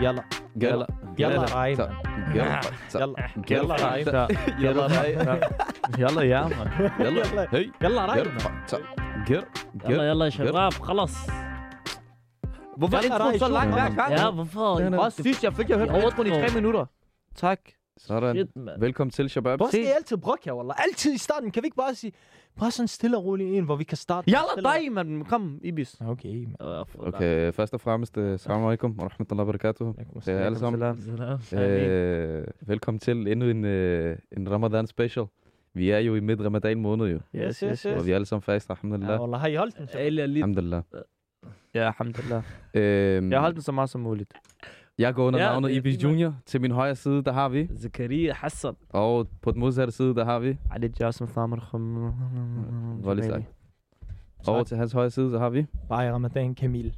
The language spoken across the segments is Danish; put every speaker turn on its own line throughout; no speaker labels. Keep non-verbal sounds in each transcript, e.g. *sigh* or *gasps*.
يلا يلا يلا رايم يلا *laughs* يلا رايم يلا *laughs* رايم يلا ياما
يلا هي
يلا رايم
قر
يلا
قر
يلا يا شباب خلاص
Hvorfor er det
Jamen,
introen
Rej,
så langt hver gang?
Ja, hvorfor?
Også sidst, jeg fik jeg hørte
Jeg
introen i
overgår.
tre minutter. Tak.
Sådan.
Shit, mand.
Velkommen til, Shabab.
Hvorfor skal I altid brokke jer, Wallah? Altid i starten. Kan vi ikke bare sige, bare sådan stille og roligt en, hvor vi kan starte?
Jalla
Stille og-
dig, mand. Kom, Ibis.
Okay, man.
Åh, for
Okay, først og fremmest, øh, salam alaikum og rahmatullahi wa barakatuh. Det er alle sammen.
langt. Salam.
Øh, velkommen til endnu en, øh, en Ramadan special. Vi er jo i midt ramadan måned jo,
Yes, yes, yes.
og vi er alle sammen faster,
Ja,
alhamdulillah.
Wallah, har I holdt den?
Alle er lidt.
Alhamdulillah.
Ja, alhamdulillah.
Øhm,
Jeg har holdt den så meget som muligt.
jeg går under
Ja,
navnet
det er
Ibis
fint nok.
Junior. Til min højre side, der har vi.
زكريا حسن
Og på den modsatte side, der har vi.
Ali Jassim Thamar Khum.
Voldelig sagt. Og til hans højre side, så har vi.
Bare i ramadan, Kamil.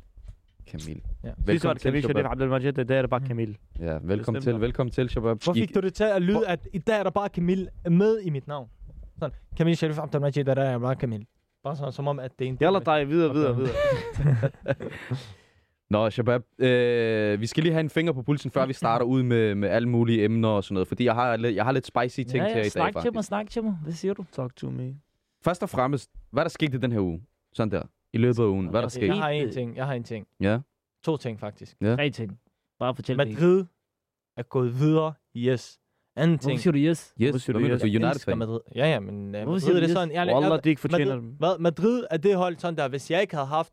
Kamil.
Ja.
Sidst var det Kamil Sharif
Shabab.
Abdel Majid, i dag er det bare Kamil.
Ja, velkommen
Bestemt
til,
nok.
velkommen til, Shabab.
Hvor
I-
fik du det til at lyde, at i dag er der bare Kamil med i mit navn? Sådan, Kamil Sharif Abdelmajid, der er bare Kamil. Bare sådan, som om, at det er en
Jalla dig, videre, videre, videre.
Nå, Shabab, øh, vi skal lige have en finger på pulsen, før vi starter ud med, med alle mulige emner og sådan noget, fordi jeg har, lidt- jeg har lidt spicy ting
Ja,
til
ja,
jer i dag,
snak til mig,
faktisk.
snak til mig. Hvad siger du?
Talk to me.
Først og fremmest, hvad er der skete i den her uge? Sådan der. I løbet af ugen. Hvad er der
okay, jeg
skete?
har en ting, jeg har en ting.
Ja.
To ting, faktisk.
Tre ting. Bare fortæl mig.
Madrid er gået videre, yes. Anden ting.
Hvorfor siger du yes?
Hvorfor
Yes,
siger
hvad
du
mener
yes?
du? United
elsker
fan.
Madrid. Ja, ja, men uh,
Hvorfor siger
Madrid, det
du
er
yes?
sådan... Jeg,
Wallah, de ikke fortjener dem.
Hvad, Madrid er det hold, sådan der, hvis jeg ikke havde haft,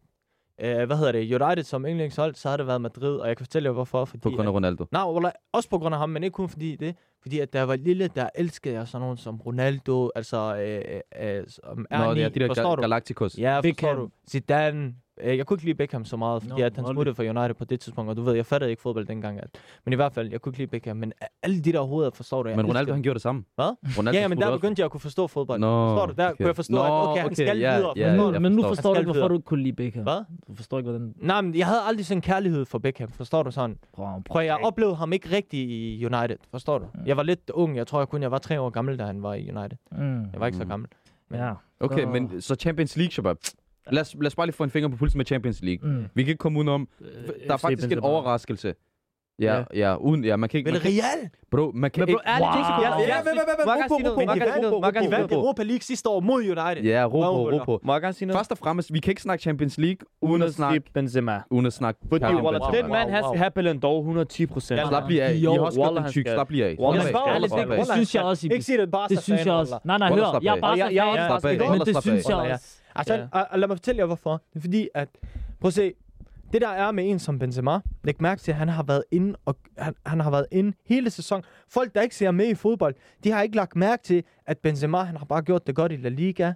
øh, hvad hedder det, United som yndlingshold, så havde det været Madrid, og jeg kan fortælle jer, hvorfor. Fordi,
På grund af Ronaldo.
Nej, Wallah, også på grund af ham, men ikke kun fordi det. Fordi at da jeg var lille, der elskede jeg sådan nogen som Ronaldo, altså øh, øh, øh, som
Nå,
Ernie,
det er de der
forstår
Gal-
du?
Galacticos.
Ja, forstår
Beckham.
du. Zidane. Øh, Jeg kunne ikke lide Beckham så meget, fordi
Nå,
no, at han
hold
smuttede for United på det tidspunkt, og du ved, jeg fattede ikke fodbold dengang. At, men i hvert fald, jeg kunne ikke lide Beckham, men alle de der hoveder forstår du. jeg
Men Ronaldo,
elskede.
han gjorde det samme.
Hvad?
Ronaldo
Ja, ja, men
spurgte
der
også.
begyndte jeg at kunne forstå fodbold.
Nå,
Forstår du? Der kunne jeg forstå,
Nå,
at okay, han skal
ja,
videre.
ja,
Men nu,
jeg
men nu
forstår.
forstår
Han
du,
skal
hvorfor
videre.
du ikke kunne lide Beckham.
Hvad?
Du forstår ikke, hvordan...
Nej, men jeg havde aldrig sådan en kærlighed for Beckham, forstår du sådan?
Prøv,
Prøv, jeg oplevede ham ikke rigtig i United, forstår du? Jeg var lidt ung, jeg tror jeg kun, jeg var tre år gammel, da han var i United.
Mm.
Jeg var ikke så
Mm.
gammel.
Ja.
Okay,
Så-
men så Champions League, Shabab. Lad os, lad os bare lige få en finger på pulsen med Champions League.
Mm.
Vi kan ikke komme udenom. Der er
FC
faktisk en
Benzema.
overraskelse. Ja, ja, uden, ja, man kan ikke...
Men
man kan-
Real?
Bro, man kan
Men bro,
ikke...
ærligt, tænk så på
Wow.
det.
Ja, men, men, men,
Må jeg gerne sige noget? Må jeg gerne sige noget? Må jeg
De
gerne sige
vandt
noget?
Europa League sidste år mod United.
Ja, ro på, ro
Røvhuller.
på.
Må jeg gerne sige noget?
Først og fremmest, vi kan ikke snakke Champions League, uden at snakke...
Unesnip Benzema.
Uden at snakke...
Fordi
Karim
Wallah,
Benzema.
den mand
Wow,
has
wow.
have Ballon d'Or 110%.
Ja,
Slap lige af. I
Jo,
har også gjort
Wallah,
den
han
tyk.
skal-
Slap lige af. Slap
Wallah, han
af.
skal-
Wallah,
Ærligt,
slap af.
det synes jeg også, Ibis.
Ikke sige det bare.
Det synes jeg også. Nej, nej,
Wallah,
hør.
slap
Jeg
af.
er bare
Og
så
jeg- jeg er
fan.
også
Slap af.
Men
Wallah,
det
slap
synes
af.
jeg
Wallah, ja.
også.
Altså,
Ja.
og, og lad mig fortælle jer, hvorfor. Det er fordi, at... Prøv at se. Det der er med en som Benzema, læg mærke til, at han har været inde, og, han, han har været inde hele sæsonen. Folk, der ikke ser med i fodbold, de har ikke lagt mærke til, at Benzema, han har bare gjort det godt i La Liga.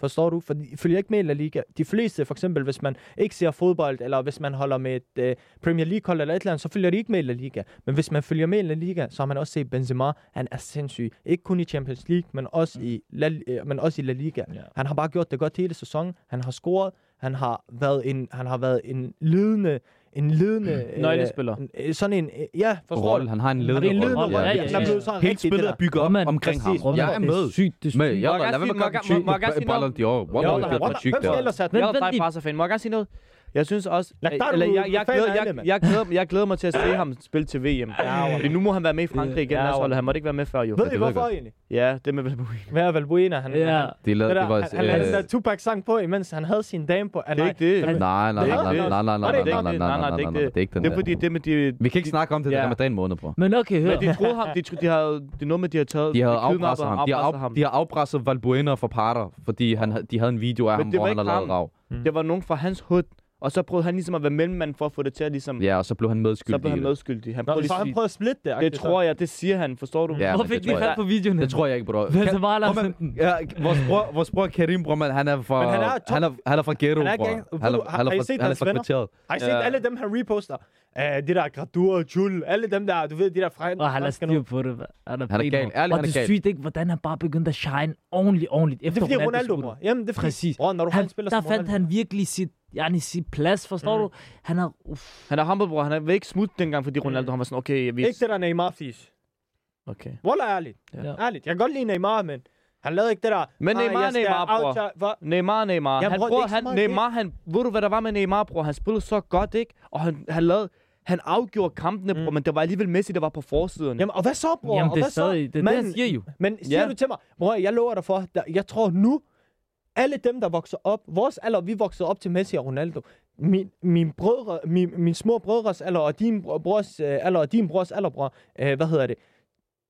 Forstår du? For de følger ikke med i La Liga. De fleste, for eksempel, hvis man ikke ser fodbold, eller hvis man holder med et øh, Premier League-hold eller et eller andet, så følger de ikke med i La Liga. Men hvis man følger med i La Liga, så har man også set Benzema. Han er sindssyg. Ikke kun i Champions League, men
Mm.
også i La, øh, men også i La Liga.
Ja.
Han har bare gjort det godt hele sæsonen. Han har scoret. Han har været en, han har været en ledende... En ledende...
Nøglespiller.
Øh, en- øh, sådan en... øh, Ja, forstår
Mm. Rolle,
du?
han har en
Han er en
ledende
ledende
rolle.
rolle.
Ja, ja,
ja,
Han
ja.
er blevet sådan
Hele
rigtig det
spillet
der.
er bygget op
Roman,
omkring ham.
præcis.
Jeg er
Roman,
med.
Det er sygt, det er sygt.
Men jeg
Må jeg
lad
gerne
være med
sige-
at
må jeg-
komme
må jeg gerne
tyk.
sige
Ballon
noget?
d'Or. Wallah,
Wallah,
det er for
Hvem
tyk
skal
der.
ellers have den?
Jeg er dig
Vent,
bare så fan. Må jeg gerne sige noget? Jeg synes også...
Lad dig, du
eller,
er
jeg, jeg,
fan af
glæder,
alle,
jeg,
mand.
jeg, glæder, jeg glæder mig til at se ham spille til VM.
Ja,
Fordi nu må han være med i Frankrig igen,
Ja,
landsholdet. Han måtte ikke være med før, jo.
Ved I
jeg
hvorfor
godt.
egentlig?
Ja, det med Valbuena.
Hvad er Valbuena? Han,
Ja.
han,
Det er lavet,
det der,
det var...
han, han,
øh,
han havde Tupac sang på, imens han havde sin dame på. Ah,
Det er
nej.
ikke det.
Nej, nej, nej, nej,
Det er
nej, nej, nej,
ikke det.
nej, nej, nej, nej, nej, nej, det er ikke den
Det er
der.
fordi, det med de...
Vi kan ikke snakke om det, der
Ja.
er ramadan måned, bror.
Men okay, hør.
Men de troede ham, de, tro- de havde, det er noget med, de har taget,
De havde
kidnappet
afpresset ham. De har,
afpresset
af, de har afpresset Valbuena for parter, fordi han, ha- de havde en video af
Men
ham,
det
hvor
var
han har
ikke
lavet rav.
Det var nogen fra hans hud, og så prøvede han ligesom at være mellemmand for at få det til at ligesom...
Ja, og så blev han
så
medskyldig.
blev
i
han
det.
medskyldig. Han
Nå,
prøvede
så
lige
han
at
prøvede at splitte det.
sige- Det tror jeg, det siger han, forstår du?
Ja,
Hvor
men
fik
det
de
tror
fat
jeg.
på videoen?
Det tror jeg ikke, bror.
Benzema har
Kom,
lavet
men-
15.
Ja, vores bror, vores bror Karim, bror, man, han er fra,
Men han er top-
han er, han er fra ghetto,
Han er
bror.
gang-
Han
Ved du,
er,
har-
han er,
har I
fra-
set
han er
hans
fra
venner?
kvarteret.
Har I set
Ja.
alle dem, han reposter? Uh, de der Gradur, Jul, alle dem der, du ved, de der fra...
Og han er
franske nu.
styr på det, hva'? Han er,
Han er
benhård.
gal. Ærligt,
Og
han er
det
gal.
sygt ikke, hvordan han bare begyndte at shine ordentligt, ordentligt.
Det
Efter
er fordi Ronaldo,
smuttede.
bror. Jamen, det er fordi...
Præcis.
Bror, når du
Han,
han spiller
der
som
fandt
Ronaldo.
han virkelig sit, yani, sit plads, forstår du? Han har... Uff.
Han er humble, bror. Han er ikke smut dengang, fordi Ronaldo, han var sådan, okay, vi...
Ikke det der Neymar-fis.
Okay.
Wallah, ærligt.
Ja.
Ja.
Ærligt. Jeg kan godt lide Neymar, men han lavede ikke det der...
Men
"Ah,
Neymar,
jeg skal
Neymar, bror."
out- Hvad?
Neymar, Neymar.
Ja,
han,
bror, det er
bror,
ikke så
han,
meget
Neymar, han, ved du, hvad der var med Neymar, bror? Han spillede så godt, ikke? Og han, han lavede, Han afgjorde kampene,
Mm.
mm. men det var alligevel Messi, der var på forsiderne.
Jamen, og hvad så, bror?
Jamen,
og
det er
hvad så?
stadig... Det er det,
Men-
jeg siger jo.
Men siger
Ja.
du til mig, bror, jeg lover dig for, der, jeg tror nu, alle dem, der vokser op, vores alder, vi voksede op til Messi og Ronaldo, min, min, brødre, min, min små brødres alder og din bro- brors øh, alder og din brors alder, bror, øh, hvad hedder det,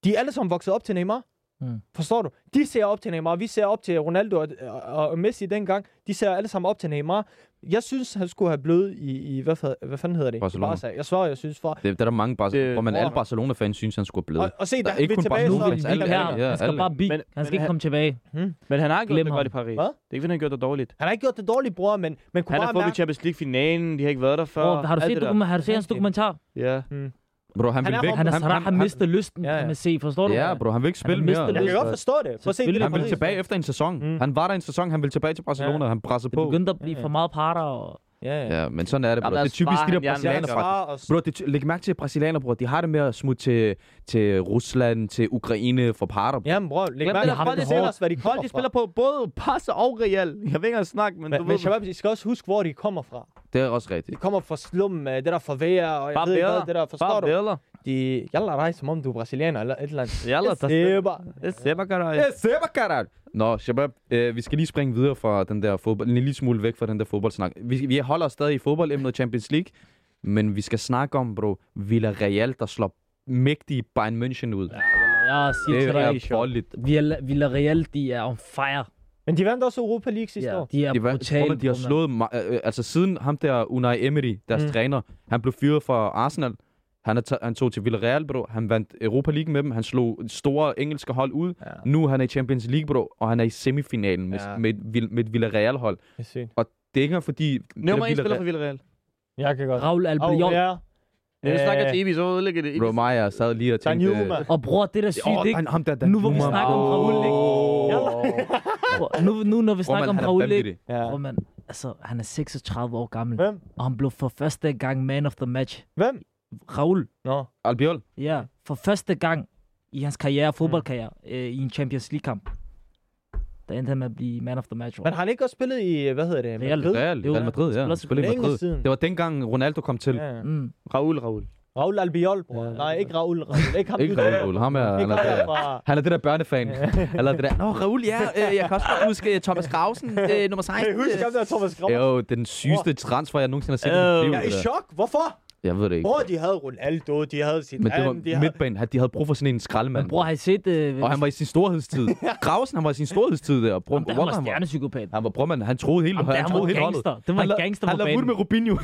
de er alle sammen vokset op til Neymar.
Mm.
Forstår du? De ser op til Neymar, vi ser op til Ronaldo og, og, og Messi dengang, de ser alle sammen op til Neymar. Jeg synes, han skulle have blødt i, i hvad, fa- hvad fanden hedder det? I
Barcelona.
Barca. Jeg svarer, jeg synes for.
Det, der er der mange Barcelona,
Det-
hvor man alle
Åh.
Barcelona-fans synes, han skulle have blevet.
Og, og se,
Der
der,
er
der
ikke
vi er
kun
tilbage,
Nu
Barcelona,
så,
vil
Alle- alle-
vi ikke have ham.
ja,
Han skal
alle.
bare bi.
Men-
Han skal
men
ikke
han-
komme tilbage.
Men han har gjort
Glem
det
ham.
godt i Paris.
Hvad?
Det er ikke, fordi han har gjort det dårligt.
han har ikke gjort det dårligt, bror, men man kunne
Han har
bare
fået
mærke,
ved Champions League-finalen, de har ikke været der før.
Bror, har, du
alt
set
det der.
dokumen- har du set hans
Okay.
dokumentar?
Ja.
Bro, han,
Han
vil
er
væk.
Om
Han har han, han,
han-
mistet lysten,
Ja, ja.
kan man se. Forstår du?
Ja, bro, han vil ikke
Han har
spille
mistet
mere.
Jeg kan
lysten.
godt forstå det. Prøv at se,
Selvfølgelig.
Han
det
ville
er-
tilbage efter en sæson.
Mm.
Han var der en sæson, han ville tilbage til Barcelona, og han pressede
Det
på.
begyndte at blive
Ja, ja.
for meget parter. Og...
Ja, ja.
Ja, men sådan er det, bro.
Jamen,
Det er
deres
typisk
far,
de der
han hjerner-
brasilianere,
Ja,
Hans
faktisk.
far og s-
Bro, det, læg mærke til at brasilianere, bror. De har det med at smutte til, til Rusland, til Ukraine for parter. Ja.
Jamen, bror, læg
Glem
mærke
det,
til,
der
folk
folk, de
fortæller
spiller-
os, hvad de
Folk,
kommer
de
fra.
spiller på både Barca og Real. Jeg vil ikke engang snakke, men,
Men,
du
men
ved...
Shabab, I skal også huske, hvor de kommer fra.
Det er også rigtigt.
De kommer fra slum, øh, det der fra vejr, og jeg
Bare
ved ikke
bedre.
hvad, det der, forstår
Bare
du?
bedre.
De, jeg lader dig, som om du er brasilianer eller et eller andet.
Jalla, der
Sæber.
Det er Seba, gør
Det er super, karat. Nå, Shabab, øh, vi skal lige springe videre fra den der fodbold, en lille smule væk fra den der fodboldsnak. Vi, vi holder os stadig i fodboldemnet Champions League, men vi skal snakke om, bro, Villarreal, der slår mægtige Bayern München ud. Ja,
Jeg siger til
det
dig,
er bolligt.
Villa- Villarreal, de er on fire.
Men de vandt også Europa League sidste
Ja,
år.
de er
De, var, tror,
brutale.
de har slået... ma- øh, øh, altså, siden ham der Unai Emery, deres
Mm.
mm. træner, han blev fyret fra Arsenal. Han, er ta- han tog til Villarreal, bro. Han vandt Europa League med dem. Han slog store engelske hold ud.
Ja,
Nu er han i Champions League, bro, og han er i semifinalen med,
Ja.
ja. med, et Vill- med et Villarreal-hold.
det er sygt.
Det er ikke engang fordi...
Nummer 1 spiller
Villarreal-
for Villarreal.
Jeg kan godt.
Raul Albiol.
ja.
Når du
Øh,
snakker til Ibi, så ødelægger det.
Bro, Maja sad lige og
Daniel
tænkte... øh,
Uma.
Og bror, det der sygt,
Åh,
ikke?
Dan, ham der, Dan
Nu hvor vi
Juma,
snakker om
bro.
Raul, ikke?
Åh.
Bror, Nu, nu når vi
Bror,
snakker
man,
om
han er
Raul, ikke?
vanvittig.
Ja.
Bror, man, altså, han er 36 år gammel,
Hvem?
og han blev for første gang man of the match.
Hvem?
Raul,
Nå.
Albiol.
ja, for første gang i hans karriere, fodboldkarriere, øh, i en Champions League-kamp. Der endte han med at blive man of the match.
Men har han ikke også spillet i, hvad hedder det?
Real.
Madrid?
Real,
Jo,
Real Madrid, ja.
spiller
Han
til
Spiller i
Længe
Madrid.
siden.
Det var dengang Ronaldo kom til.
Ja, ja.
Mm.
Raul, Raul.
Raul Albiol, bror.
Ja.
Nej, ikke Raul. Raul. Ikke ham.
Ikke
du-
Raul, Raul. Ham er... Han
Ikke
er
ham
der.
der fra...
Han er det der børnefan. *laughs* Eller det der, Nå, Raul, ja, øh, jeg kan også godt huske øh, Thomas Grausen, øh, nummer
Kan I
16.
huske ham der, Thomas Kramer?
Jo, det er den sygeste transfer, jeg nogensinde har set. i mit
Øh.
liv,
Jeg er
det
i
der.
chok. Hvorfor?
Jeg ved det ikke.
Bror, de havde Ronaldo, de havde sin
Men det var
de havde...
midtbanen. Han- De havde brug for sådan en
Men
skraldemand.
bror, har I set... Øh,
Og han var i sin storhedstid. Grausen, han var i sin storhedstid der. Bror,
Jamen, der, han
hvor
var
han var.
stjernepsykopat.
Han var bror, man. Han troede hele,
Jamen, der,
han
han
troede
var
hele holdet.
gangster. Det var en
la-
gangster på
han lavede ud
banen.
med Rubinho.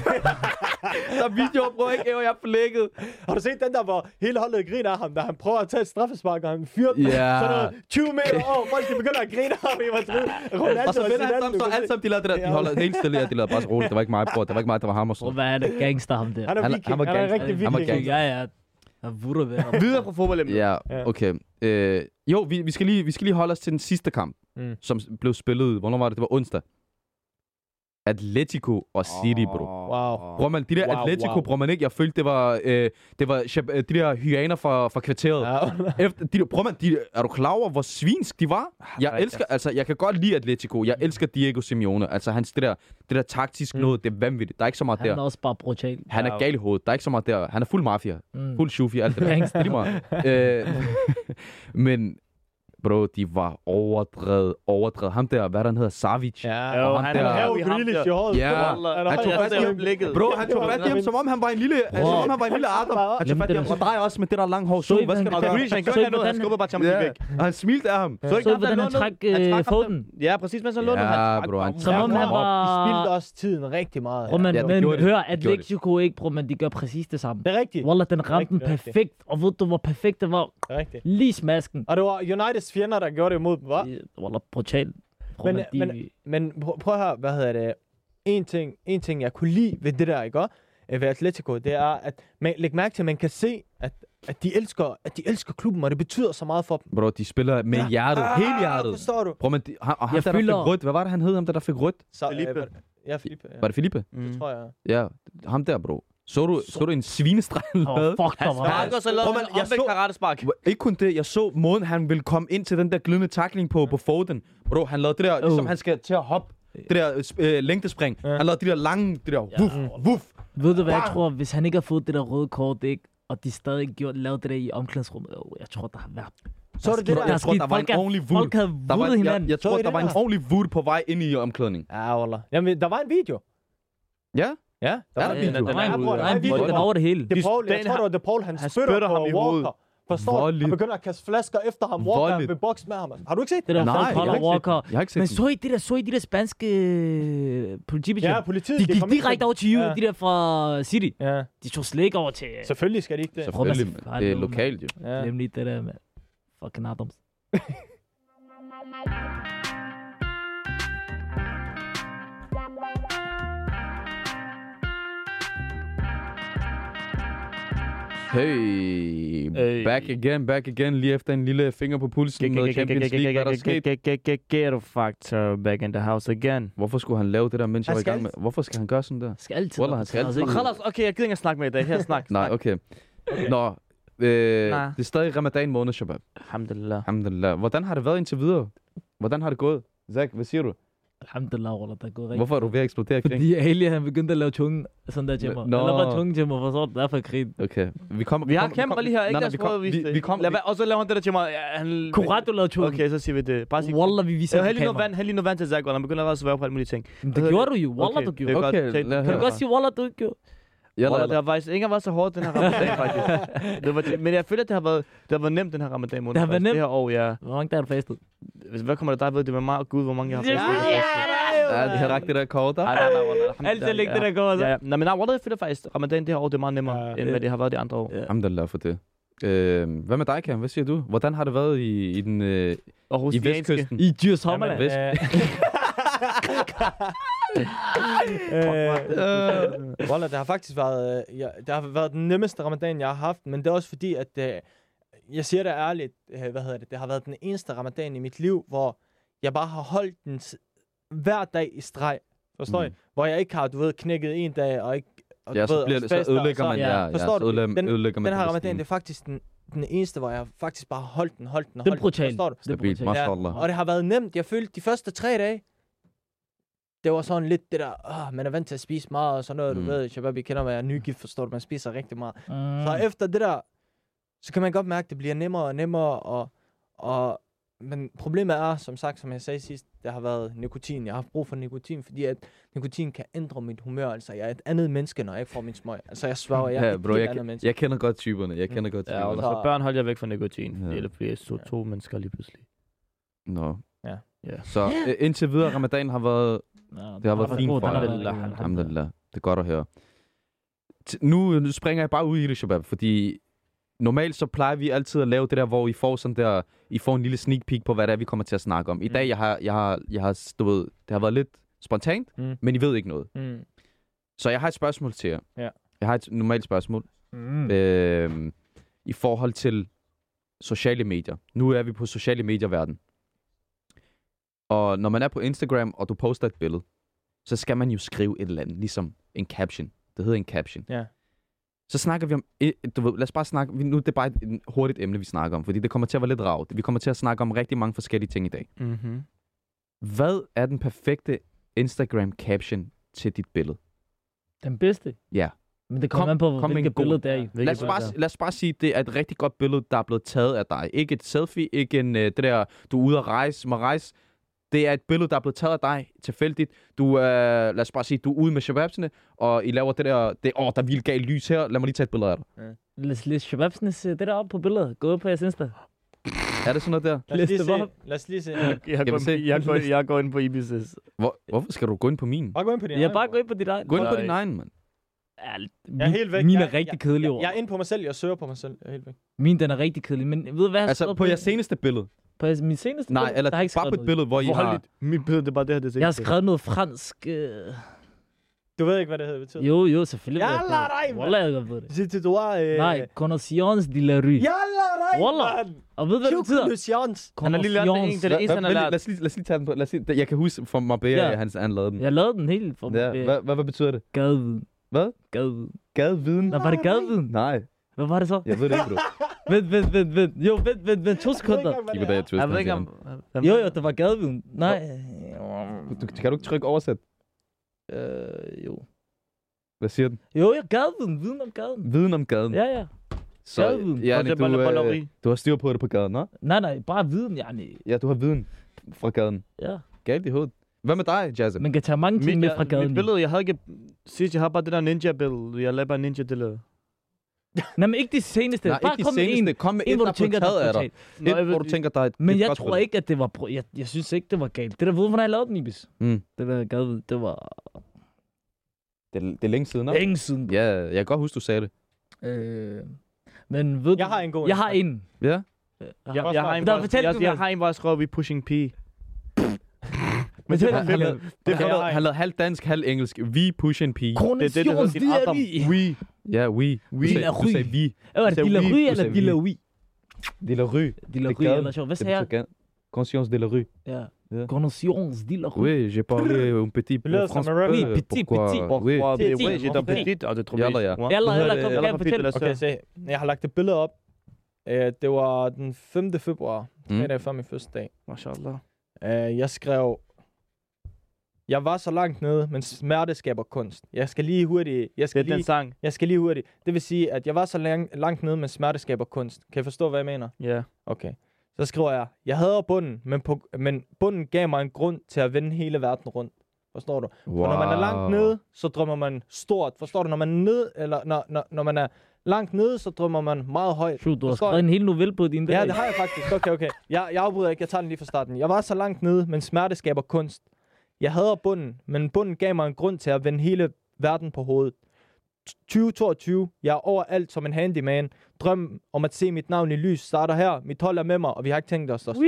der er videoer, bror, ikke? Evo, jeg er flækket.
Har du set den der, hvor hele holdet griner af ham, da han prøver at tage et straffespark, og han fyrer den?
Ja.
Sådan noget 20 meter over, folk de begynder at grine af ham i Madrid. Ronaldo
Og så vender han
Zidane,
sammen, så
du kan
alle
se.
sammen, de lavede det der. De holder helt stille, ja, de lavede bare så roligt. Det var ikke mig, bror. Det var ikke mig, der var ham og
Bror,
sådan.
hvad er det gangster, ham der?
Han er
Han-
viking,
han
han,
var
han er
gangster.
rigtig
Han var
viking.
gangster.
Ja, ja. Han vurder ved ham.
Videre fra fodboldemnet.
Ja,
Ja.
okay. Øh, jo, vi, vi, skal lige, vi skal lige holde os til den sidste kamp,
Mm.
mm. som s- blev spillet, hvornår var det? Det var onsdag. Atletico og City, bro.
Ah.
Wow.
Bror, man, de der
Wow,
wow, Atletico,
wow.
wow. bror, man ikke. Jeg følte, det var, øh, det var Shab- øh, de der hyaner fra, fra kvarteret.
Ja.
Efter, de, prøv man, de, er du klar over, hvor svinsk de var? Jeg
nej,
elsker, altså, jeg kan godt lide Atletico. Jeg elsker Diego Simeone. Altså, hans, det, der, det der taktisk
Mm.
noget, det er vanvittigt. Der er ikke så meget
Han er
der.
også bare brutal.
Han er
Ja.
gal i hovedet. Der er ikke så meget der. Han er fuld mafia.
Mm.
Fuld shufi, alt det der. det
Gangster.
er lige meget. Øh,
*laughs*
men, bro, de var overdrevet, overdrevet. Ham der, hvad er det, han hedder? Savic.
Ja.
Jo,
Og ham
han
der-
Han
er
har
jo
jo Grealish i håret.
Ja.
Han
Han
har
tog
jo
fat i ham.
blikket.
Bro, han tog fat i ham, som om han var en lille,
Bro.
som om han var en lille Arthur. Han tog
Glem
fat i
det
ham.
der.
Og dig også med det der lange hår.
Så I,
Hvad skal du
hvordan
Og
han-
gøre?
Grealish, han
Så
gør
I,
ikke noget, han
hvordan-
skubber bare Champions
Ja,
væk.
og han smilte af ham.
Så
Så
ikke ham,
hvordan
der
han
lå ned?
trak
Han
øh,
trak ham
foden.
Ja, præcis, mens han lå ned.
Ja,
han trak
bro, han
ham.
Som om
Ja,
han
bror,
var...
De spildte også tiden rigtig meget.
Bror, man,
Ja, de
men
gjorde det.
hør,
De
at
gjorde det.
Lexico ikke, bror, men de gør præcis det samme.
Det er rigtigt.
Wallah, den ramte den
Rigtigt, rigtigt.
perfekt. Og ved du, hvor perfekt det var?
Det er rigtigt.
Lige smasken.
Ah.
Og det var Uniteds fjender, der gjorde det imod dem, hva'?
Wallah, brutal. Bror,
Men-
man, de...
men- Men prøv, prøv her, hvad hedder det? En ting, en ting, jeg kunne lide ved det der, ikke også? Øh, Ved Atletico, det er, at man, læg mærke til, at man kan se, at, at, de elsker, at de elsker klubben, og det betyder så meget for dem.
Bro, de spiller med
Ja.
ja. hjertet. Ah, hele hjertet.
Forstår du?
Bro, men de, han, og ham
Jeg
der, der
føler-
fik rødt. Hvad var det, han hed? Ham der, der fik rødt?
Så,
Felipe.
Øh, ja, Felipe. Ja,
Var det Filippe?
Mm.
det tror jeg.
Ja, ham der, bro. Så du, så du en svinestreg, han
Åh,
lavede?
fuck, der
Han
var...
sparker, så lavede
Bro,
han
man,
en
jeg
omvendt
så-
karatespark.
Ikke kun det, jeg så måden, han ville komme ind til den der glidende takling på, på Foden. Bro, han lavede det der,
Øh.
ligesom han skal til at hoppe. Det der øh, sp- øh, længdespring.
Oh. Ja.
Ja. Han lavede de der lange, det der wuf, wuf.
Ved du hvad, jeg
Bang!
tror, hvis han ikke har fået det der røde kort, ikke, og de stadig gjort, lavet det der i omklædningsrummet, oh, jeg tror, der har været...
Så er det det
sket-
der.
Jeg tror,
sket-
der var en
folk er-
ordentlig vul.
Folk havde
Der var,
vundet
jeg,
hinanden.
jeg
Så
tror,
er
der
det
var en
der.
ordentlig vut på vej ind i omklædningen.
Ja, Wallah. Jamen, der var en video.
Ja?
Ja, der
Ja,
var en
der
Øh,
video.
er en video.
Der var en
video.
video. Der var en
Den
video.
er over det hele.
De Paul, jeg
Den
tror, det
har-
var De Paul, han,
han
spytter
spytter
på
ham i
Walker.
hovedet.
Forstår du? Han
Voldeligt.
begynder at kaste flasker efter ham. Walker
Voldeligt.
vil bokse med ham. Har du ikke set
Det der,
Nej,
folk
jeg
holder
har ikke set
Walker.
Jeg har ikke set
Men
den.
så I det der, så I de der spanske øh, politibetjente?
Ja, politiet.
de
det
gik
kom ikke
direkte
til-
over til Juve,
Ja.
de der fra City.
Ja,
De tog slet ikke over til...
selvfølgelig skal de ikke det.
Selvfølgelig,
Prøv at-
men det er lokalt jo.
Ja.
Glem lige det der, mand. Fucking Adams.
Hey,
Hey.
back again, back again, lige efter en lille finger på pulsen med Champions League, hvad der er sket.
Ghetto factor back in the house again.
Hvorfor skulle han lave det der, mens jeg
Han
var i
skal
gang med? Hvorfor skal han gøre sådan der?
Skal altid...
Wallah, han
op på
skal
træet,
altid
ikke?
ud.
Khalas, okay, jeg gider ikke at snakke med i dag. Her, snak.
Nej, okay. Nå, øh,
Nej.
det er stadig ramadan måned, Shabab.
Alhamdulillah.
Alhamdulillah. Hvordan har det været indtil videre? Hvordan har det gået? Zach, hvad siger du?
Alhamdulillah, Wallah, der er gået rigtigt.
Hvorfor er du ved at eksplodere kring?
Fordi Ali, han begyndte at lave tunge, sådan der jammer.
Nå.
Han lavede bare tunge jammer, for så var det derfor jeg grinede.
Okay, vi kommer...
Vi har
kommer-
kæmper
kommer-
lige her,
Nej,
ikke?
nej,
Lad
vi
os prøve
kommer...
at vise
Vi,
det.
vi kommer...
Lad være- Og så laver han det der til mig. Ja, han-
Korrekt, du lavede tunge.
Okay, så siger vi det. Bare sig.
Wallah, vi viser
Jeg
det på
har lige noget
kamera.
vand, hæld lige noget vand til Zach, og han begynder allerede at svære på alle mulige ting.
Men
Hvad
det
hedder
gjorde du jo. Wallah, du gjorde.
det er
Okay,
godt. Tag-
lad
tag-
Kan
høre.
du godt sige, Wallah, du ikke gjorde?
Jeg
Wallah,
lader
det har faktisk ikke været så hårdt, den
*laughs*
her ramadan, faktisk. Det var, men jeg føler, at det har været, det har været nemt, den her ramadan måned.
Det har været
faktisk.
nemt.
Det her år, ja.
Hvor mange dage har du fastet?
Hvad kommer der dig ved? Det var meget gud, hvor mange jeg har
Ja,
fastet.
ja,
Ja, det har rakt det der kort, der.
Ej, nej, nej, wallah,
Altid lægge det,
ja.
der går. altså.
Ja, ja. Nej, men nej, wallah, jeg føler faktisk, at ramadan det her år, det er meget nemmere,
Ja.
end hvad det har været de andre år.
Ja.
Alhamdulillah for det. Øh, hvad med dig, Cam? Hvad siger du? Hvordan har det været i, i, den, øh,
Og hos
i
de engelske-
vestkysten?
I Djurs Hommerland.
Vest.
Øh, øh, Wallah, det har faktisk været, øh, ja, det har været den nemmeste ramadan, jeg har haft, men det er også fordi, at øh, jeg siger det ærligt, øh, hvad hedder det, det har været den eneste ramadan i mit liv, hvor jeg bare har holdt den s- hver dag i streg, forstår mm.
Mm.
I? Hvor jeg ikke har, du ved, knækket en dag, og ikke, og,
Ja,
du
så,
og
bliver det, så
faster, og
ødelægger man.
ja,
Ja, ja,
forstår
så
du?
ødelægger,
Den-
ødelægger man.
Den her ramadan,
Palæstina.
det er faktisk den, den eneste, hvor jeg faktisk bare har holdt den, holdt den,
Det
holdt
er brutalt.
forstår du?
Det er
Stabilt,
brutalt.
mashallah.
Og det har været nemt. Jeg følte de første tre dage, det var sådan lidt det der, åh, man er vant til at spise meget og sådan noget,
Mm.
du ved, Shabab, I kender mig, jeg er nygift, forstår du, man spiser rigtig meget.
Mm.
Mm. Så efter det der, så kan man godt mærke, at det bliver nemmere og nemmere, og, og, men problemet er, som sagt, som jeg sagde sidst, det har været nikotin. Jeg har haft brug for nikotin, fordi at nikotin kan ændre mit humør. Altså, jeg er et andet menneske, når jeg ikke får min smøg. Altså, jeg svarer, jeg er
Ja,
et
bro,
helt
jeg,
andet
jeg,
menneske.
jeg kender godt typerne. Jeg kender godt
Ja,
typerne.
wallah, så børn holder jeg væk fra nikotin.
Ja.
fordi Det bliver så to mennesker lige pludselig.
Nå.
Ja.
Ja.
Så øh, indtil videre, ramadan har været...
Ja,
Det har været fint
god,
for
den har været
dig.
god.
Alhamdulillah. Det er godt at høre. T- Nu nu springer jeg bare ud i det, Shabab, fordi normalt så plejer vi altid at lave det der, hvor I får sådan der, I får en lille sneak peek på, hvad det er, vi kommer til at snakke om. I
Mm.
dag, jeg har, jeg har, jeg har, du ved, det har været lidt spontant,
Mm.
men I ved ikke noget.
Mm.
Så jeg har et spørgsmål til jer.
Ja.
Jeg har et normalt spørgsmål.
Mm.
Øh, I forhold til sociale medier. Nu er vi på sociale medierverden. Og når man er på Instagram, og du poster et billede, så skal man jo skrive et eller andet, ligesom en caption. Det hedder en caption.
Ja.
Så snakker vi om, eh, du ved, lad os bare snakke, vi- nu er det bare et et hurtigt emne, vi snakker om, fordi det kommer til at være lidt rart. Vi kommer til at snakke om rigtig mange forskellige ting i dag.
Mm-hmm.
Hvad er den perfekte Instagram-caption til dit billede?
Den bedste?
Ja.
Men det kommer
Kom-
an på,
kom med
hvilket
en god.
billede det er i.
Lad os, bare, lad os bare sige, det er et rigtig godt billede, der er blevet taget af dig. Ikke et selfie, ikke en, øh, det der, du er ude at rejse, må rejse. Det er et billede, der er blevet taget af dig tilfældigt. Du, øh, lad os bare sige, du er ude med shababsene, og I laver det der, det, åh, der er vildt galt lys her, lad mig lige tage et billede af dig.
Læs, læs Shababsnes øh, det der op på billedet. Gå ud på jeres Insta.
Er det sådan noget der?
Lad os
Læs
lige
dem
se.
op.
Lad os lige se.
Jeg
vi
går,
se?
ind- jeg, går, jeg går ind på Ibises.
Hvor, hvorfor skal du gå ind på min?
Bare gå ind på din
Jeg
egen,
bare
bro.
gå ind på dit eget.
Gå ind på
Nej.
din egen, mand.
Ja,
Jeg er helt væk.
Min
Jeg-
er rigtig
jeg-
kedelig over.
Jeg er inde på mig selv. Jeg søger på mig selv. Jeg er helt væk.
Min den er rigtig kedelig, men ved du hvad? jeg har
Altså,
skrevet
på jeres seneste billede.
På jeres, min seneste
Nej,
billede,
eller
der har jeg ikke
bare på
skrevet
et
noget.
billede, hvor I har...
Forholdigt. Mit billede, det er bare det her, det er
Jeg
sikkert.
har skrevet noget fransk. Øh...
Du ved ikke, hvad det hedder betyder.
Jo, jo, selvfølgelig. ved jeg
Yalla,
det.
dig, mand.
Wallah, jeg ved det.
Sig til du er... Øh...
Nej, connaissance de la rue.
Jalla, nej,
Wallah.
mand!
Og ved du, hvad det betyder?
Jans.
Han har lige lært det en, det
Hva-
er det eneste,
hva-
han
vent
har
lige,
lært.
Lad os lige, lad os lige tage den på. Lad os lige, jeg kan huske fra Marbella,
Ja.
han, han lavede den.
Jeg lavede den helt for
Ja,
øh,
hvad, hvad, hvad betyder det?
gadeviden.
Hvad?
Gadeviden.
Gadeviden?
Nå, var det gadeviden?
Nej,
Hvad var det så?
jeg ved det ikke, bro.
Vent, vent, vent, vent. Jo, vent, vent, vent. To sekunder.
Giv mig da et twist.
Jeg ved ikke, om...
Jo, jo, det var gadeviden. Nej.
Du, du, kan du ikke trykke oversæt?
Øh, jo.
Hvad siger den?
Jo, ja, gadeviden. Viden om gaden.
Viden om gaden.
Ja, ja.
Så,
Gaden.
ja,
Og det er
du,
bolle- bolleri.
øh, du har styr på det på gaden, nå?
Nej, nej, bare viden, yani.
Ja, du har viden fra gaden.
Ja.
Galt i hovedet. Hvad med dig, Jazzy?
Man kan tage mange ting med fra gaden.
mit
jo.
billede, jeg havde ikke... Sidst, jeg har bare det der ninja-billede. Jeg lavede bare ninja-billede.
Nej, men ikke de seneste.
Nej,
bare
ikke de
kom med
seneste. En, kom med
En, en, hvor
der
du
er
tænker,
taget
der er
af dig.
brutal.
Nå, jeg
Et,
ved-
hvor du tænker, der er et
Men
et
jeg
godt
tror
billede.
ikke, at det var... br- Jeg, jeg synes ikke, det var galt. Det der ved, hvornår jeg lavede den, Ibis.
Mm.
Det der gad, det var
Det, er- det er længe siden, nå?
længe siden.
Ja, jeg kan godt huske, du sagde det.
Øh, men ved
Jeg
du-
har en god
Jeg
en.
har en.
Ja.
Øh,
Jeg, jeg, har en,
Der
hvor-
fortalte
jeg,
du
jeg
mig.
har en, hvor jeg skrev, vi pushing P.
Men det
Han, han, lavede,
det
han,
er-
lavede, han lavede halvt dansk, halvt engelsk. Vi push en pige.
Det er det, der hedder
Kronens
sin
det er
Adam.
vi.
We. Ja, we. Du
Vi
sagde,
er
du
ry.
sagde vi.
Var det
sagde
Dilla
vi,
Rue
du
eller
sagde
Dilla
vi.
Rui?
De la rue.
Dilla
Det
Rue
gad
eller sjov. Hvad
Det
sagde jeg?
betyder ga- Conscience de la rue.
Ja.
Ja.
Conscience Dilla Rue.
Oui, j'ai parlé un petit
Det lyder
peu
som en rap.
français.
Oui, petit,
Pourquoi?
petit.
Oui.
Hvor
Det
det
er
er
din,
Rage,
hvorfor
der
din?
blev dit, og det tror
Jalla, ja.
Eller,
Hvad
eller,
hedder
kom,
det?
kan jeg fortælle?
Okay, se. Jeg har lagt et billede op. Øh, det var den 5. februar,
Mm.
tre dage før min første dag.
Mashallah.
Øh, jeg skrev, jeg var så langt nede, men smerte skaber kunst. Jeg skal lige hurtigt, jeg
Det
skal
er den
lige,
sang.
jeg skal lige hurtigt. Det vil sige, at jeg var så lang, langt nede, men smerte skaber kunst. Kan jeg forstå, hvad jeg mener?
Ja.
Okay. Så skriver jeg, jeg hader bunden, men, på, men bunden gav mig en grund til at vende hele verden rundt. Forstår du? For når man er langt nede, så drømmer man stort. Forstår du? Når man er nede, eller når, når, når man er langt nede, så drømmer man meget højt.
Shoot, du har
Forstår
skrevet en hel novelle på din dag.
Ja, det har jeg faktisk. Okay, okay. Jeg, jeg afbryder ikke. Jeg tager den lige fra starten. Jeg var så langt nede, men smerte skaber kunst. Jeg hader bunden, men bunden gav mig en grund til at vende hele verden på hovedet. 2022. Jeg er overalt som en handyman. Drømmen om at se mit navn i lys starter her. Mit hold er med mig, og vi har ikke tænkt os at stoppe.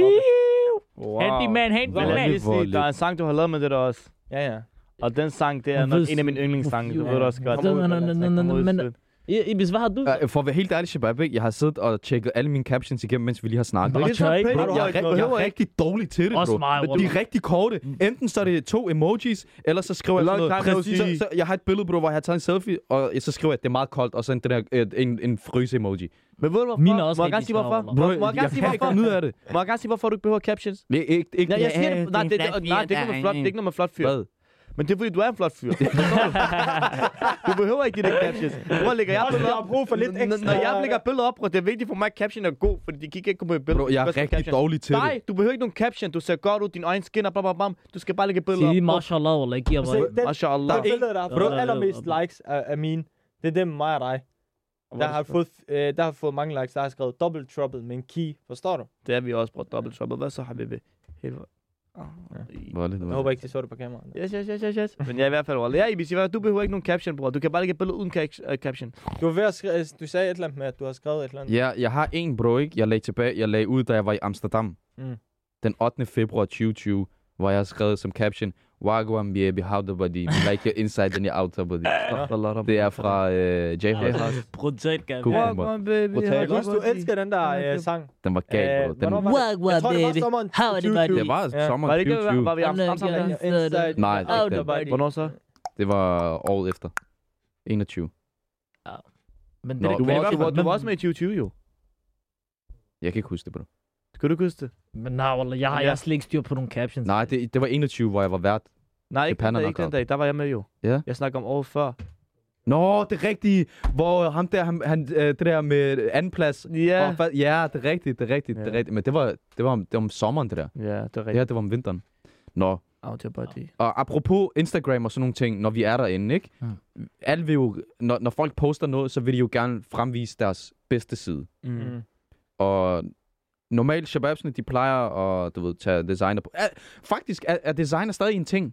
Wow.
Handyman,
Men
handyman.
lad
Hvor
mig lige sige,
lidt.
der er en sang, du har lavet med det der også.
Ja, ja.
Og den sang, det er
Jeg
nok
ved
en af mine
sgu-
yndlingssange. Du
hvorfor-
ved det også godt.
Kom ud,
Kom ud,
Men
sød.
I- Ibis, hvad har du?
Øh, For at være helt ærlig, Shabab, ikke? jeg har siddet og tjekket alle mine captions igennem, mens vi lige har snakket.
Nå,
ikke?
det er så pænt.
Bro,
du har
jeg, er
ikke
ri-
noget.
jeg er rigtig dårlig til det, bro.
Også mig,
De er rigtig korte. Enten så er det to emojis, eller så skriver jeg
Long
sådan noget.
time no
Præcis.
see.
Så, så, jeg har et billede, bro, hvor jeg har taget en selfie, og så skriver jeg, at det er meget koldt, og så en, den her, øh, en, en fryse-emoji.
Men ved du hvorfor?
Mine er også
Må jeg gerne
rigtig
sige hvorfor?
snavler.
Bro,
Må må jeg
jeg
gerne sige
kan ikke
hvorfor?
komme ud af det.
Må jeg gerne sige hvorfor du ikke behøver captions?
Det er ikke, ikke,
Nej, jeg siger det. Nej, det, det, nej, det er ikke noget med flot, det er ikke noget med flot fyr.
Hvad?
Men det er fordi, du er en flot fyr. Forstår du? du behøver ikke de der captions. Hvor lægger jeg
Også,
billeder
jeg har
op?
brug for lidt
Når-
ekstra.
Når jeg lægger billeder op, bro, det er vigtigt for mig, at caption er god, fordi de kigger ikke på mit billede.
Bro, jeg
Hvad
er
skal
rigtig
caption?
dårlig til det.
Nej, du behøver ikke nogen caption. Du ser godt ud, din øjne skinner, bam, bam, bam. Du skal bare lægge billeder
Sig lige
op.
mashallah, eller ikke, jeg
Se,
var...
den, den
Mashallah.
billede, der har
Bro.
fået allermest likes af, af mine, det er dem mig og dig. Der har, fået, øh, der har fået mange likes, der har skrevet double trouble med en key. Forstår du?
Det er vi også, bror. Dobbelt trouble. Hvad så har vi ved? Helt...
Hvor er det,
Jeg håber ikke, de så det på kameraet.
Yes, yes, yes, yes, yes. Men jeg er i hvert fald overlevet. Ja, Ibis, du behøver ikke nogen caption, bror. Du kan bare lægge et billede uden ca- øh, caption.
Du, var ved at skrive, øh, du sagde et eller andet med, at du har skrevet et eller andet.
Ja, jeg har en bro, ikke? Jeg lagde tilbage, jeg lagde ud, da jeg var i Amsterdam.
Mm.
Den 8. februar 2020, hvor jeg har skrevet som caption, Wagwan baby, how the body, like your inside and your outer body.
*laughs*
Det er fra øh, j -Hawk.
Brutalt, kan
Cool.
Walk on, baby.
Brutal.
how
Jeg kan huske, du
the body.
elsker den der øh, sang.
Den var gal, bro.
Øh, hvornår
Den,
var det?
Wagwan,
Jeg tror, det var
baby.
sommeren
How the body.
2020.
det var
Ja.
sommeren
Var det ikke, var,
2020.
var vi i Amsterdam sammen?
Inside
Nej, det er
out
ikke
the body.
Hvornår så?
Det var året efter. 21.
Men
Nå,
Du
Men
var,
i
også,
hvert
du, var,
fald-
du var også med i 2020, jo.
Jeg kan ikke huske det, bro.
Kan du ikke huske det?
Men nej, wallah, jeg har
Ja.
jeg har slet ikke styr på nogle captions.
Nej, det, det var 21, hvor jeg var vært.
Nej, ikke, den
pander
dag,
nok
ikke den
godt.
dag. Der var jeg med, jo.
Ja.
Jeg snakker om året før.
Nå, det er rigtigt. Hvor ham der, han, han, øh, det der med anden plads.
Ja.
Og, ja, det er rigtigt, det er rigtigt, det er
Ja.
rigtigt. Men det var, det var, om, det var om sommeren, det der.
Ja, det er
Det her,
rigtigt.
det var om vinteren. Nå,
Out your body.
og apropos Instagram og sådan nogle ting, når vi er derinde, ikke?
Mm.
Alle vil jo, når, når folk poster noget, så vil de jo gerne fremvise deres bedste side.
Mm.
Mm.
Og normalt, shababsene, de plejer at, du ved, tage designer på. Er, faktisk er, er designer stadig en ting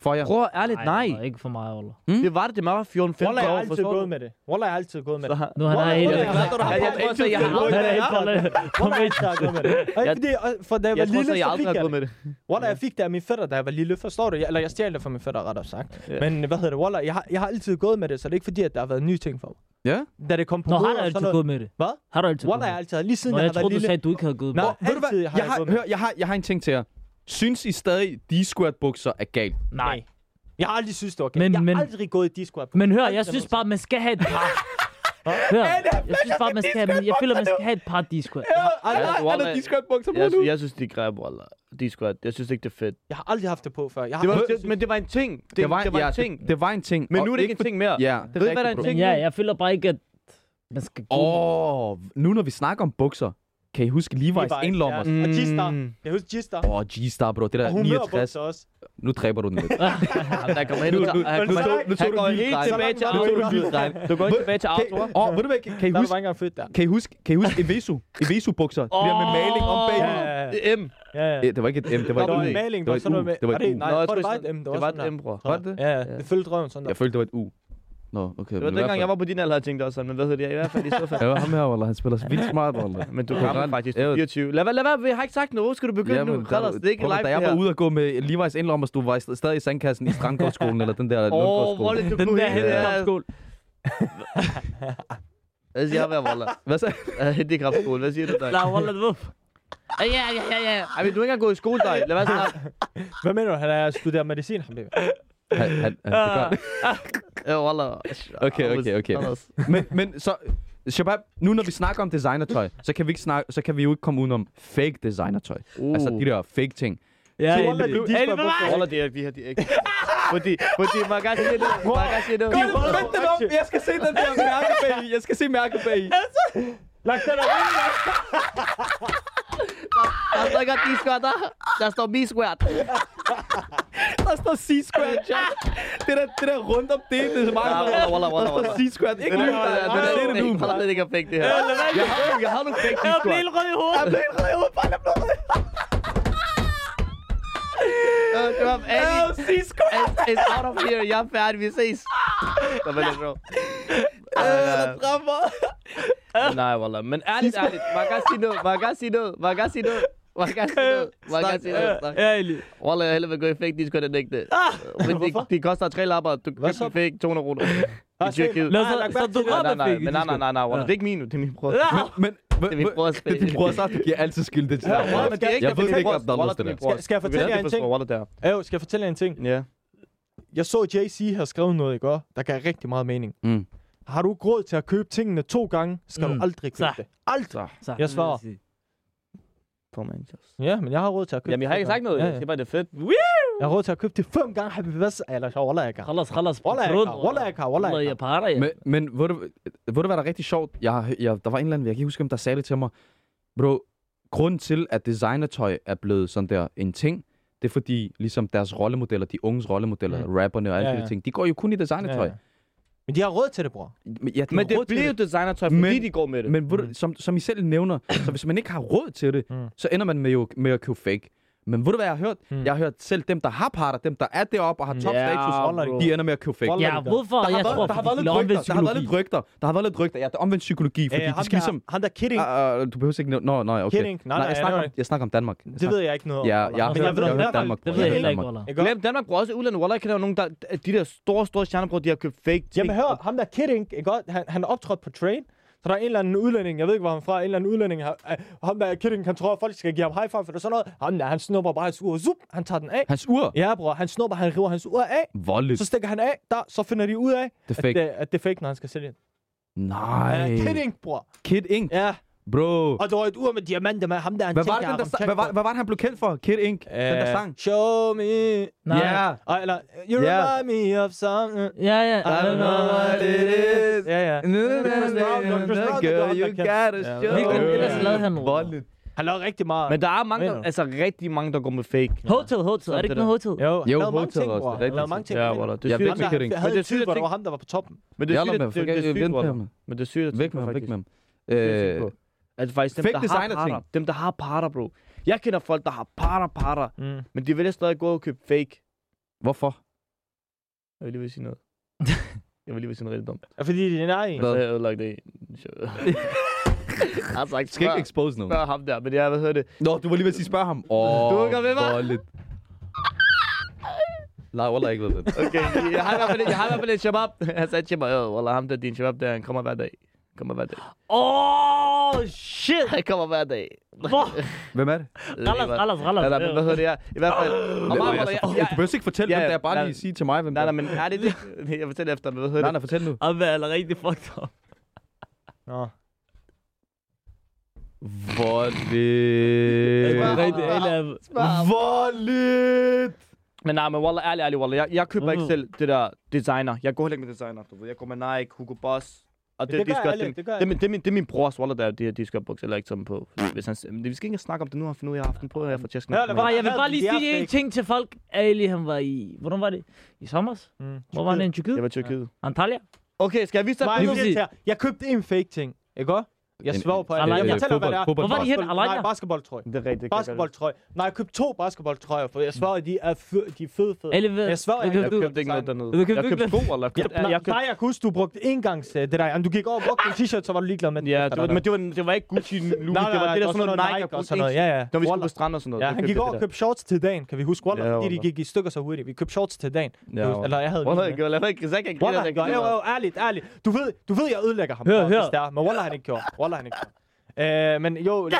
for jer.
Bror, ærligt, nej. Mm.
wallah, ikke for mig, Ola.
Det var det, det var 14 15 år,
Wallah, jeg har altid
forstår du?
gået med det. Wallah, jeg har altid gået med
Så
det.
har-
Nu han
Hvor-
har
hvor-
helt...
hvor- hvor- hvor-
Jeg- jeg- jeg- jeg-
hvor- hvor-
jeg- jeg- jeg-
hvor- Wallah, jeg altid har gået med det. Og ikke
Jeg-
fordi, og- for da jeg var
Jeg tror
lille,
så,
så
jeg
fik
aldrig
jeg
har gået
det.
med det.
Wallah, jeg fik det af min fætter, da jeg var lille. Forstår du? Jeg, eller jeg stjal det fra min fætter, rettere sagt.
Ja.
Men hvad hedder det? Wallah, jeg har, jeg har altid gået med det, så det er ikke fordi, at der har været nye ting for mig.
Ja?
Da det kom på
Nå,
mode
har du
og sådan
altid
noget.
gået med det?
Hvad?
Har du altid gået
Wallah, jeg
med
har
det?
altid, lige siden
Nå,
jeg,
jeg
har været
troede, du
lille.
sagde, at du ikke havde gået med
Nej.
det.
Bror, ved du hvad?
altid har
Jeg
jeg
har,
gået med.
hør, jeg har, jeg har en ting til jer. Synes I stadig, de squirt bukser er galt?
Nej.
Jeg har aldrig synes, det var okay.
Men-
jeg har
men-
aldrig gået i disco.
*laughs*
Men hør, jeg synes bare, man skal have et par. Hør, jeg synes bare, man skal have, jeg føler, man skal have et par D-squad.
Ja,
Jeg-
nej,
Wallah,
han har discord bukser på
Jeg,
nu.
jeg synes, de er græb, Wallah. De er squat. Jeg synes ikke, det er fedt.
Jeg har aldrig haft det på før. Jeg har
Det var,
Ved-
det, men det var en ting. Det,
Det var,
det var
ja,
en ting.
Det, det var en ting.
men
og
nu er det ikke en ting mere.
Ja, det
Ved I, hvad der er en
rigtigt,
ting?
Men ja, jeg føler bare ikke, at man skal
bro. Åh, oh, nu når vi snakker om bukser, kan I huske Levi's
Levi's,
indlommer?
ja. Og G-Star. Jeg husker G-Star.
Åh, oh, G-Star, bro. Det
Og
der 69.
humørbukser også.
Nu dræber du den lidt.
Jamen, der kommer hen.
Nu-
og-
nu-
han
nu-
kommer-
nu-
nu tog
han
du
går
lige
helt
drejen.
tilbage til
Nu tog du
Arthur.
lige drejen.
Du går ikke tilbage til Arthur.
Åh, oh, ved du hvad, kan, kan I
Der er du
huske,
ikke engang født der.
kan I huske, kan I huske Evesu? Evesu-bukser. Oh. Det der med maling om bag.
Ja, ja, ja.
M.
ja, ja.
Eh, Det var ikke et M, det var
Der
et U.
var en maling,
Det var
der
et
sådan
U.
noget med...
Det var
var
et
det,
U.
nej,
Nå,
jeg
jeg
tror, det
troede,
var et M. Det var,
Det var
sådan
et M,
der.
bror.
Var det det?
Ja, ja. Det følte drømmen sådan der.
Jeg følte, det var et U. Nå, okay.
Det var dengang, jeg var på din alder, jeg tænkte også sådan, men hvad hedder det? I hvert fald i så fald.
Jeg var ham her, Wallah. Han spiller vildt smart, Wallah.
Men du
Ja.
rammer faktisk
Ja.
24. Lad være, lad være, vi har ikke sagt noget. Skal du begynde nu?
der-
Rellers, det er ikke
bror,
live
Da
det
jeg var
her.
ude at gå med Levi's indlommer, du var i st- stadig i sandkassen i Strandgårdsskolen, eller den der
Åh, hvor er
Lundgårdsskole.
det, du
Den
kunne
der
helt
handler skål.
Hvad siger jeg, hvad, Wallah?
Hvad så?
Handicapskole, hvad siger du der?
Nej, Wallah, du Ja, ja, ja, ja.
Ej, men du er ikke engang gået i skole, dig. Lad være sådan.
Hvad mener du? Han er studeret medicin, ham der.
Han, han, han, det gør.
Ja, Wallah.
Okay, okay, okay.
Anders.
men, men så, Shabab, nu når vi snakker om designertøj, så kan vi, ikke snakke, så kan vi jo ikke komme udenom fake designertøj. Uh. Altså de der fake ting.
Ja,
Så
ja,
Wallah,
det-
du-
Ja,
de
det
spørger,
var mig.
Roller det er, vi har de ikke. *laughs* Fordi, fordi man kan sige noget. Man kan sige noget.
den op! Jeg skal se den der mærke bag i. Jeg skal se mærke bag i.
Lagt den op.
Der står ikke D-squat, der. Der står B-squat.
Der står C-squared, ja. Det der, det der rundt om det, det er meget.
Ja,
Ja,
wallah, wallah, wallah,
der står
wallah.
C-squared. Ikke
Den
nu,
er,
der
den er,
er
den
det nu.
er, den er ikke perfekt, det her. Jeg har, jeg har nogle fake
Jeg blev
D-squat.
helt rød i hovedet.
Øh, Det var
Oh, C-squared.
It's out of here. Jeg er færdig. Vi ses. Der var lidt bro. Øh, Nej, wallah. Men ærligt, ærligt. Man kan sige noget. Man kan sige noget. Man kan sige noget. Man kan sige noget. Man kan sige noget. Snak.
*laughs* Ja, egentlig.
Wallah, jeg hellere vil gå i fake D-squat end ægte. Øh, Men det, det koster tre lapper. Du
Hvad så?
købte fake 200 kroner. I Tyrkiet.
Lad os
Nej, lagt
så
mærke
du
til det.
Nej,
rød
nej,
dig
nej,
fik.
men nej, nej, nej, nej, Wallah. Det er ikke min, det er min bror.
Men,
Det er min brors
det er din brors aften, giver altid skyld det til
Ja,
dig.
Wallah, men det er ikke
Jeg ved ikke, om der er noget til det.
Skal- skal jeg fortælle jer en ting?
Wallah der.
Øv, skal jeg fortælle jer en ting?
Ja.
Jeg så, at JC havde skrevet noget i går, der gav rigtig meget mening.
Mm.
Har du ikke råd til at købe tingene to gange, skal
Mm.
du aldrig købe
Så.
det. Aldrig.
Så.
Jeg svarer.
På Manchester.
Ja, men jeg har råd til at købe
Jamen, jeg har
det
ikke
to
sagt noget.
gange.
Jeg siger bare, det er fedt.
Jeg har råd til at købe det fem gange, Habibi Vas. Eller så Wallah, jeg har.
Khalas, khalas.
Wallah, jeg har. Wallah, jeg har. Wallah,
Wallah,
jeg
jeg parer, ja.
Men, men ved, du, ved du, hvad der er rigtig sjovt? Jeg, har hø- jeg, der var en eller anden, jeg kan ikke huske, om der sagde det til mig. Bro, grunden til, at designertøj er blevet sådan der en ting, det er fordi, ligesom deres rollemodeller, de unges rollemodeller, mm. rapperne og alle
Ja,
ja,
ja.
ja. de ting, de går jo kun i
har. Ja,
designertøj. Ja,
ja. Men de har råd til det, bror.
Men, ja, de
Men
har
det
råd til
bliver jo designertøj,
Men-
fordi de går med det.
Men ved du, som, som I selv nævner, så hvis man ikke har råd til det,
Mm.
mm. så ender man med, jo, med at købe fake. Men ved du, hvad jeg har hørt?
Mm.
Mm. Jeg har hørt selv dem, der har parter, dem, der er deroppe og har
Mm.
topstatus,
Ja, bro.
de ender med at købe fake.
Wallah,
Ja,
det gør.
hvorfor?
Der har,
Jeg
været,
tror,
der, har
fordi
været
de
lidt
laver
rygter,
omvendt
der har været
psykologi.
lidt rygter. Der har været lidt rygter. Ja, det er omvendt psykologi, fordi
Øh,
de
ham
skal ligesom...
Der, han der kidding,
Ah, ah, du behøver ikke nævne... Nå, nej, okay.
Kidding. Nej, nej,
jeg,
jeg
snakker
nævner
om, jeg snakker om Danmark. Jeg
det
snakker,
ved jeg ikke noget om.
Ja,
Wallah.
jeg har
Men jeg
hørt-
ved,
jeg har hørt
at
Danmark.
Det ved jeg
Ja,
heller ikke,
Danmark.
Wallah.
Ikke også?
Glem Danmark, bror. Også udlandet. Wallah, jeg kender jo nogen, der, de der store, store stjernebror, de har købt fake ting.
Jamen hør, ham der Kidding, ikke godt? Han, han er optrådt på train. Så der er en eller anden udlænding, jeg ved ikke, hvor han er fra, en eller anden udlænding, har, øh, ham der Kidding, han tror, at folk skal give ham high five for det sådan noget. Ham der, han snupper bare hans ur, zup, han tager den af.
Hans ur.
Ja, bror, han snupper, han river hans ur af,
Voldeligt.
så stikker han af, der, så finder de ud af,
Det er
at
fake.
det, at det er fake, når han skal sælge den.
Nej.
Ja, Kidding, bror.
Kid Ink.
Ja,
Bro.
og der var et ur med diamanter med ham der, han
Hvad var, det,
tænkte, "Ah, jeg
den
har
der,
ramt
sang- hvad, var,
jackpot.
hvad var det, han blev kendt for? Kid Ink. Den der
Øh,
sang.
Show me.
Nej.
Ja.
Ej, eller, you
Ja.
remind me of something.
Ja, ja.
I don't know what it is. Ja, ja. Chris Brown, Chris Brown, det var
Girl,
ham, der
you
kendte.
gotta
Ja.
show.
Hvilken
me.
ellers lavede han noget?
Voldeligt.
Han lavede rigtig meget.
Men der er mange,
Mener
der,
du?
altså rigtig mange, der går med fake.
Hotel, hotel. Er det ikke
det
noget hotel?
Jo, han
Jo,
lavede mange
Hotel
ting,
også,
bror.
det er
Han
rigtigt.
lavede mange ting.
Ja,
mener
Wallah. Det
Jeg
er
ved
sygt.
Ham, der,
Kidding.
jeg havde
Men
det
det
er
er
sygt,
sygt,
hvor det
at
var ham, der var på toppen.
Men det er
Jeg lader
sygt,
mig,
at-
for
det, det,
jeg-
er
jeg-
sygt,
vent på
Wallah.
ham.
Men det er sygt, at
Væk med ham, væk med ham.
Væk
Øh,
Altså faktisk dem,
Fake
der har
designer-ting.
parter. Dem, der har parter, bro. Jeg kender folk, der har parter, parter.
Mm.
Men de vælger stadig gå og købe fake.
Hvorfor?
Jeg vil lige ved at
*laughs*
sige noget. jeg vil lige ved at sige noget rigtig dumt.
Fordi det er nej.
Men så har jeg ødelagt
*laughs*
det. Jeg har sagt,
Du skal ikke
spørg,
expose nogen.
spørg ham der, men jeg, hvad hedder det?
Nå, du var lige ved at sige, spørg ham. Åh,
Du er ikke ved mig.
voldeligt. Nej, Wallah ikke ved det.
Okay, *laughs* jeg har i hvert fald, jeg har i hvert fald en shabab.
*laughs*
Han sagde til mig, øh, Wallah, ham der, din shabab der, han kommer hver dag. Kommer
*gasps*
hver dag.
Åh, shit.
Han kommer hver dag.
Hvor?
Hvem er det?
Rallas, rallas,
Nej, nej,
rallas.
men hvad hedder det? Jeg, I hvert
*gasps*
fald... Nå, nej, Wallah, jeg-
Du behøver ikke fortælle,
Ja,
hvem det er.
ja,
Bare
nej.
lige sige til mig, hvem det
Nej,
er.
*laughs* nej, men er det det? Jeg fortæller efter, men hvad hedder
Nej,
det?
nej, fortæl nu.
Han er allerede rigtig fucked up.
Nå. mm.
Hvor lidt.
Spørg ham.
Rigtig alle-
Hvor lidt.
Men nej, men wallah, ærlig, ærlig, wallah. Jeg, jeg køber ikke
Mhm.
selv det der designer. Jeg går heller ikke med designer, du ved. Jeg går med Nike, Hugo Boss. Og det,
Det
det,
gør
de skørt,
alle,
det,
det gør
det, er min- det, er min, det er min brors wallah, der er de her de skørbukser, eller ikke som på. Hvis han, men vi skal ikke snakke om det nu, han finder ud af, at jeg har haft den på, og jeg får tjæsk
Ja, lad
med.
være.
Bare, jeg vil
Hvad?
bare lige
Det er
sige en
fake.
ting til folk. Ali, han var i... Hvornår var det? I sommer?
Mm.
Hvor var han i
Jeg
Tyrkiet?
var i Tyrkiet.
Antalya?
Okay, skal jeg vise dig
Nej,
et
nu
billede?
siger jeg til jer. Jeg købte en fake ting, ikke også? Jeg
En-
svor på
en-
alt. Jeg
en-
fortæller,
fodbold-
hvad det er.
fodbold-
Hvor var de henne?
Basketball- Nej,
Alanya?
basketballtrøje.
Det er rigtigt. det kan jeg godt.
Basketballtrøje. Nej, jeg købte to basketballtrøjer, for jeg svarer, at de er, fø- de er fede, fede.
Ali, hvad?
Jeg svor,
hvad
jeg
købte
Jeg
købte-
du?
købte ikke noget dernede.
Du købte
Jeg købte
ikke
sko, eller? Jeg købte-
Nej,
jeg købte-
nej, jeg kan huske, du brugte engangs øh, det der. Jamen, Du gik over og brugte en t-shirt, så var du ligeglad med den.
Ja, det var, men det var, det var ikke Gucci Louis, det
nej,
var
nej,
det der
og
sådan noget Nike, jeg
og
brugte
sådan noget.
ikke.
Ja, ja.
Når vi skulle
Wallah.
på strand og sådan noget.
Ja,
der
han
købte
gik
jeg
over og
det
købte shorts til dagen, kan vi huske Waller,
Ja,
ja, fordi de
Wallah.
gik i stykker så hurtigt. Vi købte shorts til dagen.
der. Ja,
Eller jeg havde
Wallah,
mine
jeg
med.
gør- lad være, Zach, jeg
Wallah,
griner,
han
jeg
gør. Jo,
griner.
jo, ærligt, ærligt. Du ved, du ved, jeg ødelægger ham,
Hør,
bare, hvis
hør.
det er. Men Waller, han ikke gjorde. Waller, han ikke gjorde. Øh, men jo... Øh,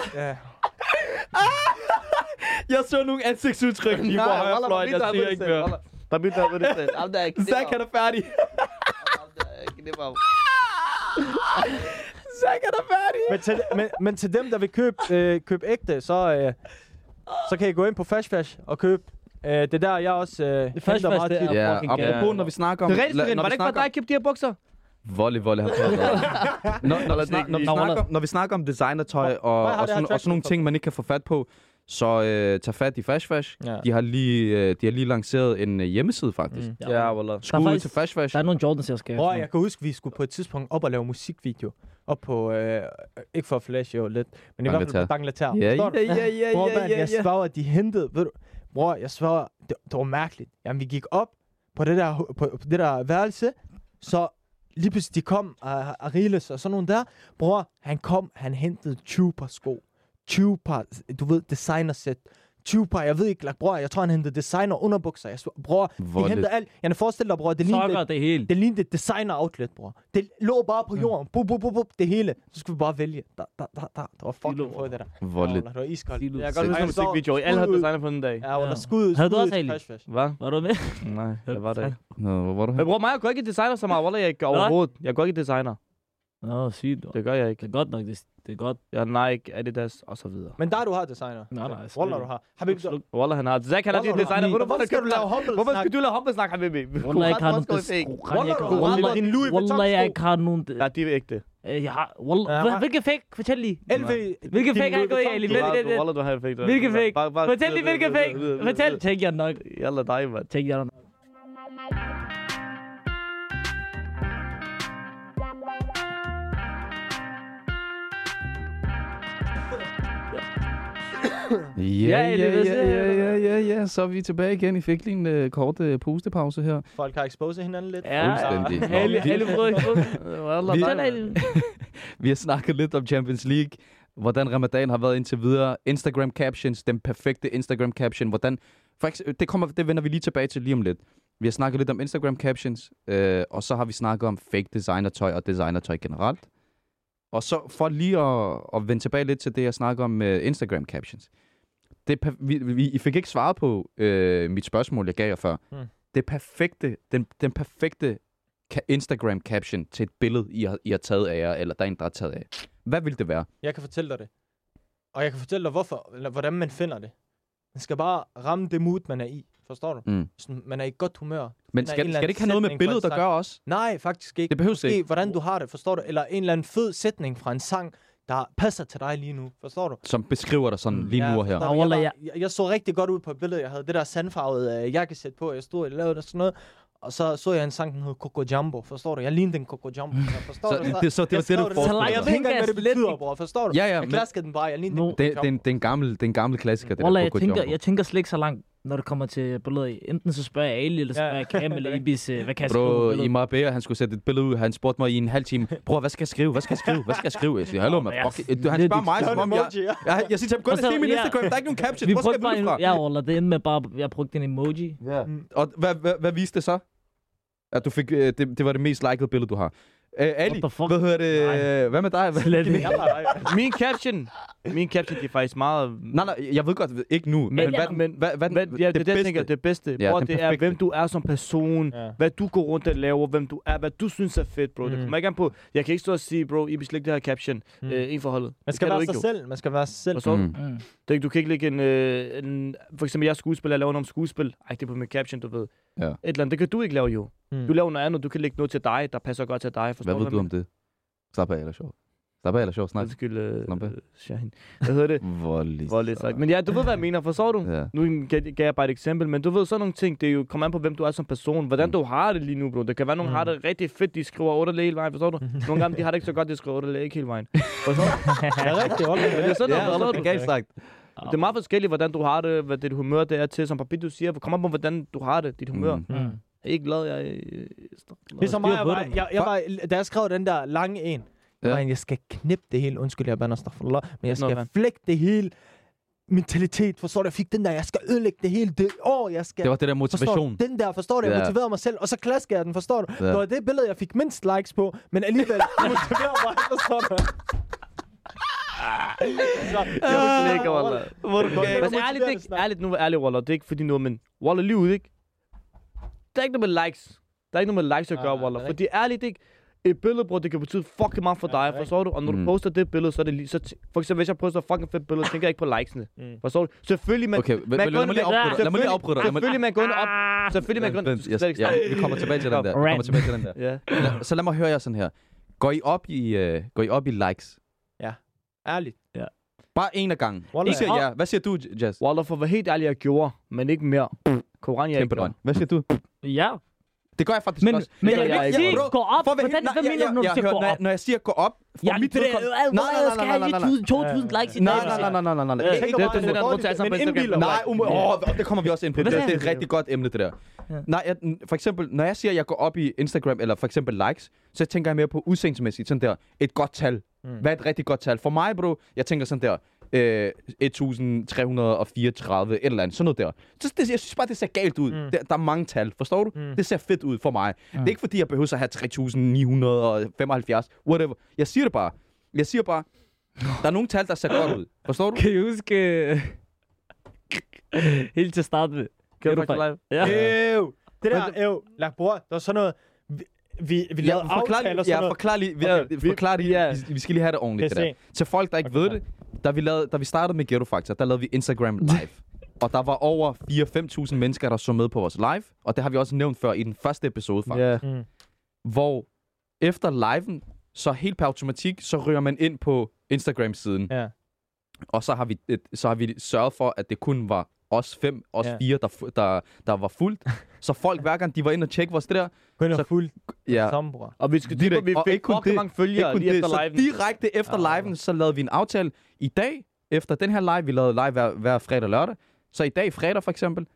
Jeg så nogle ansigtsudtryk lige
Nej, Wallah, Babita har vundet selv, Wallah. Babita har vundet selv. Ham der er knipper.
Zach, han er færdig.
Ham der er knipper.
Zach, han er færdig.
men, til, men, men til dem, der vil købe, øh, købe ægte, så, øh, så kan I gå ind på Fash Fash og købe. Øh, det er der, jeg også øh,
Fash
henter
Fash,
meget
det er-
tit.
Ja,
fucking
apropos,
gæld.
når vi snakker om...
Det er rigtigt, Sven.
når
Var
vi
det ikke for
snakker-
dig, jeg købte de her bukser?
Volley, volley har taget *laughs* når, når, når, vi snak- når, vi
Nå,
snakker,
Roland.
når vi snakker om designertøj og,
Hvor har
og,
det her
sådan, og
tracksuit
sådan nogle
fra?
ting, man ikke kan få fat på, så øh, tag fat i Fash Fash.
Ja.
De har lige, øh, de har lige lanceret en øh, hjemmeside, faktisk. Mm.
Ja, wallah.
Skud ud
faktisk-
til Fash Fash.
Der er nogle Jordans, jeg skal
Bror, jeg kan huske, vi skulle på et tidspunkt op og lave musikvideo. Op på, øh, ikke for at flash, jo lidt, men i hvert fald på Bangladesh.
Ja,
Forstår du?
ja, ja, ja,
Bror,
ja,
mand,
ja,
jeg
ja.
svarer, at de hentede, ved du, bror, jeg svarer, det, det var mærkeligt. Jamen, vi gik op på det der, hu- på, på det der værelse, så lige pludselig de kom, uh, Ariles og sådan nogle der. Bror, han kom, han hentede 20 par sko. 20 par, du ved, designersæt. 20 par, jeg ved ikke, like, bror, jeg tror, han hentede designer underbukser. Jeg svarer, bror,
Hvor
de hentede
lidt.
alt. Jeg forestiller dig, bror, det lignede,
Sokker, det hele.
det lignede et designer outlet, bror. Det lå bare på jorden. Bup, bup, bup, bup, det hele. Så skulle vi bare vælge. Der, der, der, der. Det var
Silo,
fucking
bror.
fået det der.
Hvor lidt.
Wallah, Det var iskoldt.
Silo.
Jeg kan godt huske
Ej,
en
så-
musikvideo. Alle havde
skud ud.
designer på den dag.
Ja, Wallah,
Ja.
skud,
Havde du
skud
også,
til
Ali?
Fash Fash.
Hvad?
Var du med?
Nej, det var det ikke.
Nå, hvor var du
Men
her?
bror, mig, jeg går ikke i designer så meget. Wallah, jeg går overhovedet. Jeg går ikke i designer.
Nå, sygt.
Det gør jeg ikke.
Det er godt nok, det, det er godt.
Jeg har Nike, Adidas og så videre.
Men der du har designer.
Nej, nej, sgu
Wallah,
ikke.
du har. Habib, du...
Wallah, han har... Zach, han har
Wallah,
dit
du
designer.
har-
Hvorfor
Hvorfor skal du lave humble
Hvorfor
snak?
skal du lave håndboldsnak, Habibi?
Wallah, jeg ikke har
Hvorfor
nogen...
skal du fake?
Wallah, jeg ikke har-
Wallah,
Wallah,
din Louis Vuitton
Wallah, jeg ikke har nogen...
Nej, det er ægte.
Øh, Jeg har... Wallah.
Ja,
Hvad-
hvad-
Hvilke fake? Fortæl lige.
LV...
Hvilke
din
fake har I
Louis
gået i,
Vuitton?
Ali?
Du
Vent,
har-
vent,
du-
vent.
Wallah, du har fake.
Hvilke fake?
Bare- bare-
Fortæl lige, hvilke fake? Fortæl. Tænk jer nok.
Jalla dig, mand.
Tænk jer nok.
Ja,
Ja,
ja,
det er det,
ja, ja, ja, ja, ja. Så er vi tilbage igen. I fik lige en øh, kort øh, pustepause her.
Folk har exposet hinanden lidt.
Ja,
Fuldstændig. Nå,
alle,
vi-
alle brød.
*laughs*
Wallah,
Vi-
sådan er det.
Vi har snakket lidt om Champions League, hvordan ramadan har været indtil videre, Instagram captions, den perfekte Instagram caption, hvordan... For eksempel, det, kommer, det vender vi lige tilbage til lige om lidt. Vi har snakket lidt om Instagram captions, øh, og så har vi snakket om fake designertøj og designertøj generelt. Og så for lige at, at vende tilbage lidt til det, jeg snakker om øh, Instagram captions. Det, per- vi, vi, I fik ikke svaret på øh, mit spørgsmål, jeg gav jer før.
Mm.
Mm. Det perfekte, den, den perfekte ka- Instagram caption til et billede, I har, I har taget af jer, eller der er en, der har taget af jer. Hvad vil det være?
Jeg kan fortælle dig det. Og jeg kan fortælle dig, hvorfor, eller hvordan man finder det. Man skal bare ramme det mood, man er i. Forstår du?
Mm.
Sådan, man er i godt humør.
Men
Der er en
skal,
eller
skal det ikke have
anden
noget med
sætning for
billedet
en
at
sang.
gøre også?
Nej, faktisk ikke.
Det behøves
Måske,
ikke.
hvordan du har det, forstår du? Eller en eller anden fed sætning fra en sang, der passer til dig lige nu. Forstår du?
Som beskriver dig sådan
Mm.
lige nu og her.
forstår
Nå,
du, Jeg,
Wallah,
var, jeg, jeg så rigtig godt ud på billedet. Jeg havde det der sandfarvede øh, jakkesæt på. Jeg stod og lavede det sådan noget. Og så så jeg en sang, den hed Coco Jumbo. Forstår du? Jeg lignede en Coco
*laughs*
Jumbo. Jeg forstår
Så
du? Så,
det- så det var
jeg
det,
skrev
du forestillede
ned.
dig.
Jeg ved ikke engang, hvad det
Slet
betyder,
ikke.
bror. Forstår du?
Ja, ja,
Jeg
men-
klaskede den bare. Jeg lignede
Nå.
en Coco
Det, det, er en,
Jumbo.
det er en gammel, det er en gammel klassiker, det
Wallah,
der
jeg
Coco
tænker,
Jumbo.
jeg tænker slet ikke så langt, når det kommer til billeder. i. Enten så spørger jeg Ali, eller så
Ja.
spørger jeg Cam
*laughs*
eller Ibis, øh, hvad kan jeg skrive på
Bro, i
billedet?
Marbella, han skulle sætte et billede ud. Han spurgte mig i en halv time, bror, hvad skal jeg skrive? Hvad skal jeg skrive? Hvad skal jeg skrive? Jeg siger, hallo, man.
jeg er
Fuck, it." han
lidt
spørger mig,
Det
som
var en
om jeg...
emoji, ja.
Jeg, jeg siger til ham, gå ind
Og
og
så-
se min
ja.
Instagram, der er ikke nogen caption.
Vi
Hvor skal
brugte
jeg
bare
vide fra?
en, ja, Wallah, det endte med bare, jeg brugte en emoji.
Ja. Og hvad, hvad, hvad viste det så? At du fik, øh, det, det var det mest likede billede, du har. Øh, Ali,
What the fuck?
hvad hedder det?
Nej.
Hvad med dig? Hvad-
Slet ikke.
Min caption, min caption, det er faktisk meget...
Nej, nej, jeg ved godt, ikke nu. Men,
Men-
hvad, men, hvad, hvad,
Hvad, ja, det, det, jeg tænker, det bedste,
Ja,
ja, bror,
den
det er,
perfekte.
hvem du er som person,
Ja.
ja. hvad du går rundt og laver, hvem du er, hvad du synes er fedt, bro. Mm. Det
Mm.
kommer ikke an på. Jeg kan ikke stå og sige, bro, I beslægte det her caption,
Mm.
mm. øh, inden for holdet.
Man
Det
skal
kan du
være
ikke,
sig
jo.
selv. Man skal være sig selv.
Hvad så? Mm.
Mm.
Det, er ikke- du kan ikke lægge en, øh, en... For eksempel, jeg er skuespiller, jeg laver noget om skuespil. Ej, det er på min caption, du ved.
Ja.
Et eller andet, det kan du ikke lave jo.
Mm.
Du laver noget andet, du kan lægge noget til dig, der passer godt til dig. Forstår
Hvad ved du om det? Slap af, eller sjov. Slap af, eller sjov, snak.
Undskyld,
Slap af.
øh, Shahin. Hvad hedder det?
*laughs* Voldeligt.
Voldeligt sagt. Men ja, du ved, hvad jeg mener, forstår du?
Ja.
Nu gav, gav jeg bare et eksempel, men du ved, sådan nogle ting, det er jo kommer an på, hvem du er som person. Hvordan
Mm.
du har det lige nu, bro. Der kan være nogen, der har
Mm.
det rigtig fedt, de skriver underlæg hele vejen, forstår du? Nogle gange, de har det ikke så godt, de skriver underlæg ikke hele vejen. Forstår du?
Det er rigtigt. Okay.
Det er sådan
Ja,
noget, forstår
Voldeligt
du?
galt sagt.
Det er meget forskelligt, hvordan du har det, hvad dit humør det er til. Som papir, du siger, kommer an på, hvordan du har det, dit humør.
Mm.
Mm.
Jeg er ikke glad, jeg er... øh, str-
Altså,
Ligesom mig,
styr
jeg
på
var,
det, mand.
jeg, jeg var, da jeg skrev den der lange en,
Ja.
ja. man, jeg skal knippe det hele, undskyld, jeg bander astaghfirullah, men jeg
Nå,
skal
fanden.
flække det hele, mentalitet, forstår du, jeg fik den der, jeg skal ødelægge det hele, det år, jeg skal,
Det var det
forstår
der motivation.
du, den der, forstår du, jeg
Ja.
motiverede mig selv, og så klasker jeg den, forstår du,
Ja.
det var det billede, jeg fik mindst likes på, men alligevel, det motiverer mig, forstår du.
Jeg vil slet ikke, Wallah.
*laughs* Hvor
galt.
Altså, ærligt, det er ikke, ærligt, nu er ærligt, Waller. Det er ikke fordi noget, men Waller, liv ud, ikke? Der er ikke noget med likes. Der er ikke noget med likes at
Nej,
gøre,
nej, det
Waller.
er
Fordi ærligt, det er ikke et billede, bror, det kan betyde fucking meget for
Ja, det er
dig, forstår du? Og når
Mm.
du poster det billede, så er det lige... Så t- for eksempel, hvis jeg poster fucking fedt billede, tænker jeg ikke på likesene.
Mm.
Forstår du? Selvfølgelig, man...
Okay, men-
man
men
går
lad mig
ind og
lige
lægger-
afbryde dig. Lad mig lige afbryde dig. Lad mig-
Selvfølgelig, man går ind og op...
Ah!
Ah.
Selvfølgelig, man går ind
Vent,
Du skal
jeg-
ikke snakke.
ja, Vi kommer tilbage til den der. Vi kommer
Rant.
tilbage til den der.
Ja.
Lad- Så lad mig høre jer sådan her. Går I op i, øh, går I op i likes?
Ærligt.
Bare en af gangen.
Wallah.
Ikke ja. Hvad siger du, Jazz?
Waller, for at være helt ærlig, jeg gjorde, men ikke mere. Koran, jeg ikke
Kæmpe drøn. Hvad siger du?
Ja.
Det gør jeg faktisk
Men,
også.
men
Det
jeg
gør
kan
jeg
ikke
ikke,
sige,
bro.
gå op.
For at være
Hvordan,
helt- nej,
hvad
jeg-
mener du, når du
jeg-
siger
hør,
gå
når jeg-
op?
Når jeg siger gå op, for
Ja,
mit
det er
vedkommende...
alt,
Nej, nej,
jeg
nej,
skal
nej,
have
nej, nej,
1000, 2000 likes i dag.
Nej, nej,
hvis
nej,
jeg-
nej, nej, nej, nej.
Ja,
Ikke-
det- det- det- det- det- det- det-
men
det-
indbilder
det-
mig.
Nej, um, åh, det kommer vi også ind på. Det,
Hvad
det er et
sagde
rigtig godt emne, det der.
Ja.
Nej, jeg, for eksempel, når jeg siger, at jeg går op i Instagram, eller for eksempel likes, så tænker jeg mere på udseendsmæssigt, sådan der, et godt tal. Mm. Hvad er et rigtig godt tal? For mig, bro, jeg tænker sådan der, øh, 1334, et eller andet, sådan noget der. Så det, jeg synes bare, det ser galt ud. Mm. Der, der er mange tal, forstår du? Mm. Det ser fedt ud for mig. Mm. Det er ikke fordi, jeg behøver at have 3975, whatever. Jeg siger det bare. Jeg siger bare, der er nogle tal, der ser godt ud. Forstår du?
Kan I huske... øh, Helt til at starte med.
Kan du
du
faktisk
fejl?
live?
Ja.
Øv. Det der, øv. Lad bror, det var sådan noget, vi, vi, vi lavede aftaler og sådan
ja,
noget.
forklar lige, vi,
Okay.
okay. forklar lige,
Ja.
vi, vi skal lige have det ordentligt, det
Kan
der.
jeg
Til folk, der ikke okay. ved det, da vi, lavede, da vi startede med Ghetto Factor, der lavede vi *laughs* Instagram live. og der var over 4-5.000 mennesker, der så med på vores live, og det har vi også nævnt før i den første episode, faktisk.
Ja.
Mm.
Hvor efter liven, så helt per automatik, så ryger man ind på Instagram-siden.
Ja.
Og så har, vi, et- så har vi sørget for, at det kun var os fem, os
Ja.
fire, der, fu- der, der var *laughs* fuldt. Så folk, hver gang de var inde og tjekke vores det der,
Hun er
Så-
fuld
ja,
sammen, bror.
Og vi skal
Direkt.
tænke på, at vi
Og ikke
fik
kun det.
fucking mange følgere
ikke kun
lige
det,
efter
så
liven. Ah.
direkte efter liven, så lavede vi en aftale. I dag, efter den her live, vi lavede live hver, hver fredag og lørdag, så i dag fredag for eksempel,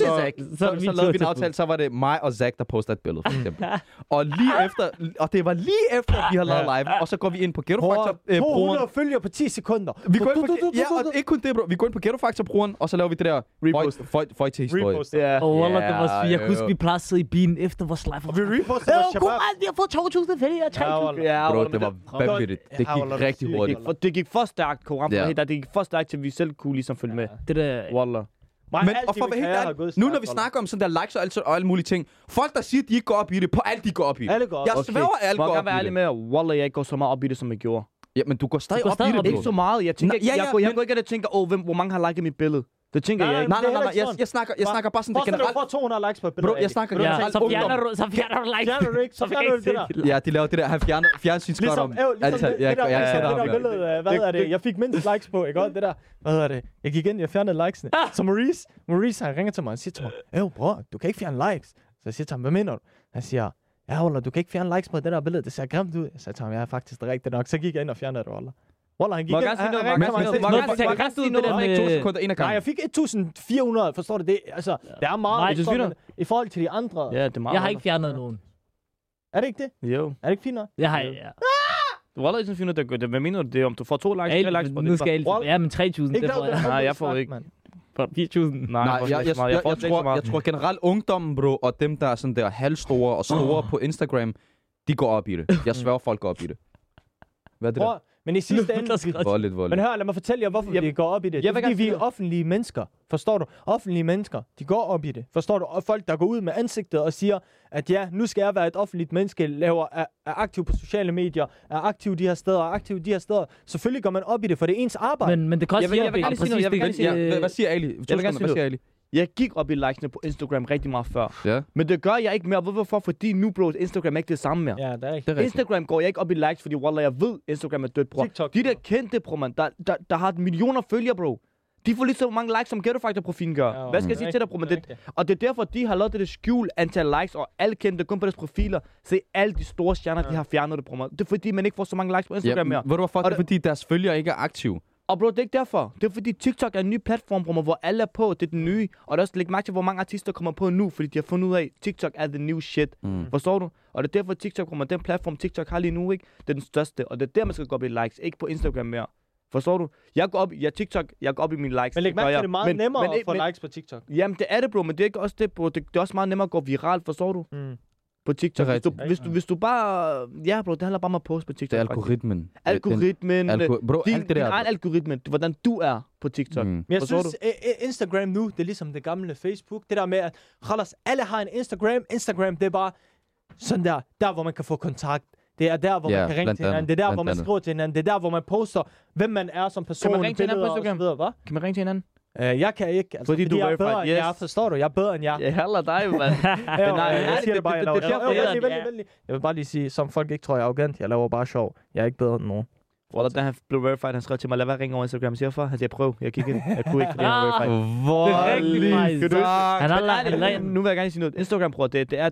så,
Det er
så,
Zack.
så,
Så
så,
vi
så
to
lavede vi en
til
aftale, så var det mig og Zack, der postede et billede, for
*laughs*
eksempel. og, lige efter, og det var lige efter, vi havde lavet live, og så går vi ind på Ghetto Factor, øh, brugeren.
200 følger på 10 sekunder.
Vi går ind på, ja, og ikke kun det, bro. Vi går ind på Ghetto Factor brugeren, og så laver vi det der
Repost.
føj- føj- føj til historie.
Repost.
Ja.
Og Wallah, det var
Ja,
sygt. Jeg kunne huske,
jo.
vi plejede at sidde i bilen efter vores live.
Og vi repostede vores
Åh,
shabab.
Koran, vi har fået 2.000 følgere, 3.000.
Wallah.
Ja,
Bro,
Wallah,
det
men
var vanvittigt. Det
Ja, Wallah,
gik
det
rigtig
sygt,
hurtigt.
Wallah.
For det gik for stærkt, Koran.
Ja.
Ja. Det gik for stærkt, til vi selv kunne ligesom følge med.
Det der...
Wallah.
Mig,
Men og for at være helt ærlig, nu når vi snakker om sådan der likes og alt, sådan- og alle mulige ting, folk der siger, at de ikke går op i det, på alt de går op i.
Alle går op.
Jeg
Okay.
svæver, at alle
Må
går
jeg
op
gerne være
i
ærlig
det.
med, jer? Wallah, jeg ikke går så meget op i det, som jeg gjorde.
Ja, men du går stadig
går
op i
stadig
det,
op i
bro.
Ikke så meget. Jeg tænker,
Nå, ja,
jeg,
ja,
går, jeg
men-
går ikke ind og tænker, åh, hvem, hvor mange har liket mit billede. Det tænker
Nej,
jeg ikke.
Nej, nej, nej,
Det er
nej.
heller
Jeg,
ikke sådan.
jeg snakker, jeg snakker bare sådan, det generelt.
du får 200 likes på et
Bro,
billede.
jeg snakker
Ja,
generelt
så fjerner
ungdom.
du, så fjerner du like.
Fjerner du ikke, så fjerner du det der.
Ja, de laver det der, han fjerner fjernsynskortet
Ligesom,
om.
æv, ligesom
Altså,
det,
jeg-
det der,
jeg
ligesom
kender
det
ham,
der
ja.
billede, af- hvad
Det-
er det?
det-
Jeg fik mindst likes på, ikke også? Det der, hvad er det? Jeg gik ind, jeg fjernede likesene. Så Maurice, Maurice han ringer til mig, han siger til mig, Øv, bror, du kan ikke fjerne likes. Så jeg siger til ham, hvad mener du? Han siger, ja, Ola, du kan ikke fjerne likes på det der billede, det ser grimt ud. Jeg sagde til ham, jeg er faktisk det rigtigt nok. Så gik jeg ind og fjernede det, Ola. Ola, han gik
Må
ind,
jeg gerne sige
han-
noget?
han
Må
ringte
jeg
til
gerne
mig,
sige
han sagde,
noget? Må
Nå,
jeg
så jeg kan sige
Nå,
noget øh,
der
Jeg
med...
fik to sekunder ind ad
Nej, jeg
gangen.
fik 1.400, forstår du det? Altså, det er meget
Nej,
forstår
synes vi
du, i forhold til de andre.
Ja, det er meget.
Jeg har ikke fjernet nogen.
Er det ikke det?
Jo.
Er det ikke fint nok?
Jeg har... Ja.
Wallah, jeg synes, fint, at det gør. Hvad mener du det? er, Om du får to likes, tre likes
Alt,
på
nu
det?
skal jeg...
Wallah.
Ja, men 3.000, det
Ikke
får
lavet
jeg.
den her
Nej, jeg
dårlige
får
snak,
ikke.
mand.
For 4.000.
Nej,
Nej, jeg, jeg,
jeg,
jeg,
får
jeg,
ikke så
tror,
meget.
jeg tror generelt ungdommen, bro, og dem, der er sådan der halvstore og store på Instagram, De går op i det. Jeg sværger, folk går op i det. Hvad er det der?
Bror, men i
*laughs*
sidste ende...
Voldeligt,
Men
voldeligt.
hør, lad mig fortælle jer, hvorfor
Jeg-
vi går op i det. Det
Jeg
er,
vil
fordi
gerne
vi er
sige
offentlige mennesker. Forstår du? Offentlige mennesker, de går op i det. Forstår du? Og folk, der går ud med ansigtet og siger, at ja, nu skal jeg være et offentligt menneske, laver, er, er aktiv på sociale medier, er aktiv de her steder, er aktiv de her steder. Selvfølgelig går man op i det, for det er ens arbejde.
Men, men det kan også
Jeg vil- jeg vil
hjælpe,
gerne
ikke?
sige noget,
Præcis,
jeg
det-
vil gerne sige
Ja, hvad, hvad siger Ali? To
gerne
sekunder,
sige
hvad siger Ali?
Jeg gik op i likesene på Instagram rigtig meget før.
Ja.
Men det gør jeg ikke mere. Ved du Hvorfor? Fordi nu, bro, Instagram er ikke det samme mere.
Ja, det er rigtigt.
Det er rigtigt.
Instagram går jeg ikke op i likes, fordi wallah, jeg ved, Instagram er dødt, bror.
TikTok,
De der
bror.
kendte, bror, man, der, der, der har millioner følgere, bro. De får lige så mange likes, som Ghetto Factor-profilen gør.
Ja,
Hvad skal jeg
det er
sige til dig,
rigtigt.
bror? Men
Det er
det, og det er derfor, de har lavet det der skjul antal likes, og alle kendte kun på deres profiler. Se, alle de store stjerner, de har fjernet det, bror. man. Det er fordi, man ikke får så mange likes på
Ja,
Instagram mere.
ved du hvorfor?
Og
Det er
det-
fordi, deres følgere ikke er aktive.
Og bro, det er ikke derfor. Det er fordi TikTok er en ny platform, bror, hvor alle er på. Det er den nye. Og det er også læg mærke til, hvor mange artister kommer på nu, fordi de har fundet ud af, TikTok er the new shit.
Mm.
Forstår du? Og det er derfor TikTok kommer, den platform TikTok har lige nu, ikke? Det er den største, og det er der, man skal gå op i likes, ikke på Instagram mere. Forstår du? Jeg går op i, jeg TikTok, jeg går op i mine likes.
Men læg
det gør
mærke til,
jeg.
det er meget
Men-
nemmere
men,
at få
men,
likes på TikTok.
Jamen, det er det, bro, men det er ikke også det, bro. Det, det er også meget nemmere at gå viralt, forstår du?
Mm.
På TikTok.
Det er
Hvis du,
rigtigt.
hvis, du, hvis du bare... Ja, bro, det handler bare om at poste på TikTok.
Det er
faktisk.
algoritmen. Øh, den-
Algoritmen. øh,
algo- Bro,
din,
alt det
din egen
der.
algoritme, det- hvordan du er på TikTok. Mm.
Mm.
Men jeg
Forstår
synes, i- i- Instagram nu, det er ligesom det gamle Facebook. Det der med, at Khalas, alle har en Instagram. Instagram, det er bare sådan der, der hvor man kan få kontakt. Det er der, hvor
Ja,
man kan ringe
blandt
til hinanden.
andet,
Det er der,
blandt
hvor man
andet.
skriver til hinanden. Det er der, hvor man poster, hvem man er som person.
ringe til hinanden på
billeder og så
Instagram?
videre, hva?
Kan man ringe til hinanden?
Øh, jeg kan ikke, altså, fordi,
Fordi du
fordi
er
jeg er
verified,
bedre end
yes.
jer, forstår du? Jeg er bedre end jer.
Jeg heller dig, *laughs* mand.
Ja,
nej,
jeg,
ærligt,
jeg siger det
det-
bare, jeg
det-
laver
det- det-
sjov.
det-
Øh,
det-
vent lige, vent lige, vent lige. Jeg vil bare lige sige, som folk ikke tror, jeg er arrogant. Jeg laver bare sjov. Jeg er ikke bedre end nogen.
Wallah, da han blev verified, han skrev til mig, lad være at ringe over Instagram. Jeg siger, for, han siger, prøv. Jeg kiggede, jeg kunne ikke, fordi han var verified.
Hvor
Det er rigtigt, faktisk.
kan du huske?
Han har lagt
Men
en
nej, det-
ren.
nu vil jeg gerne sige noget. Instagram, bror, det, det er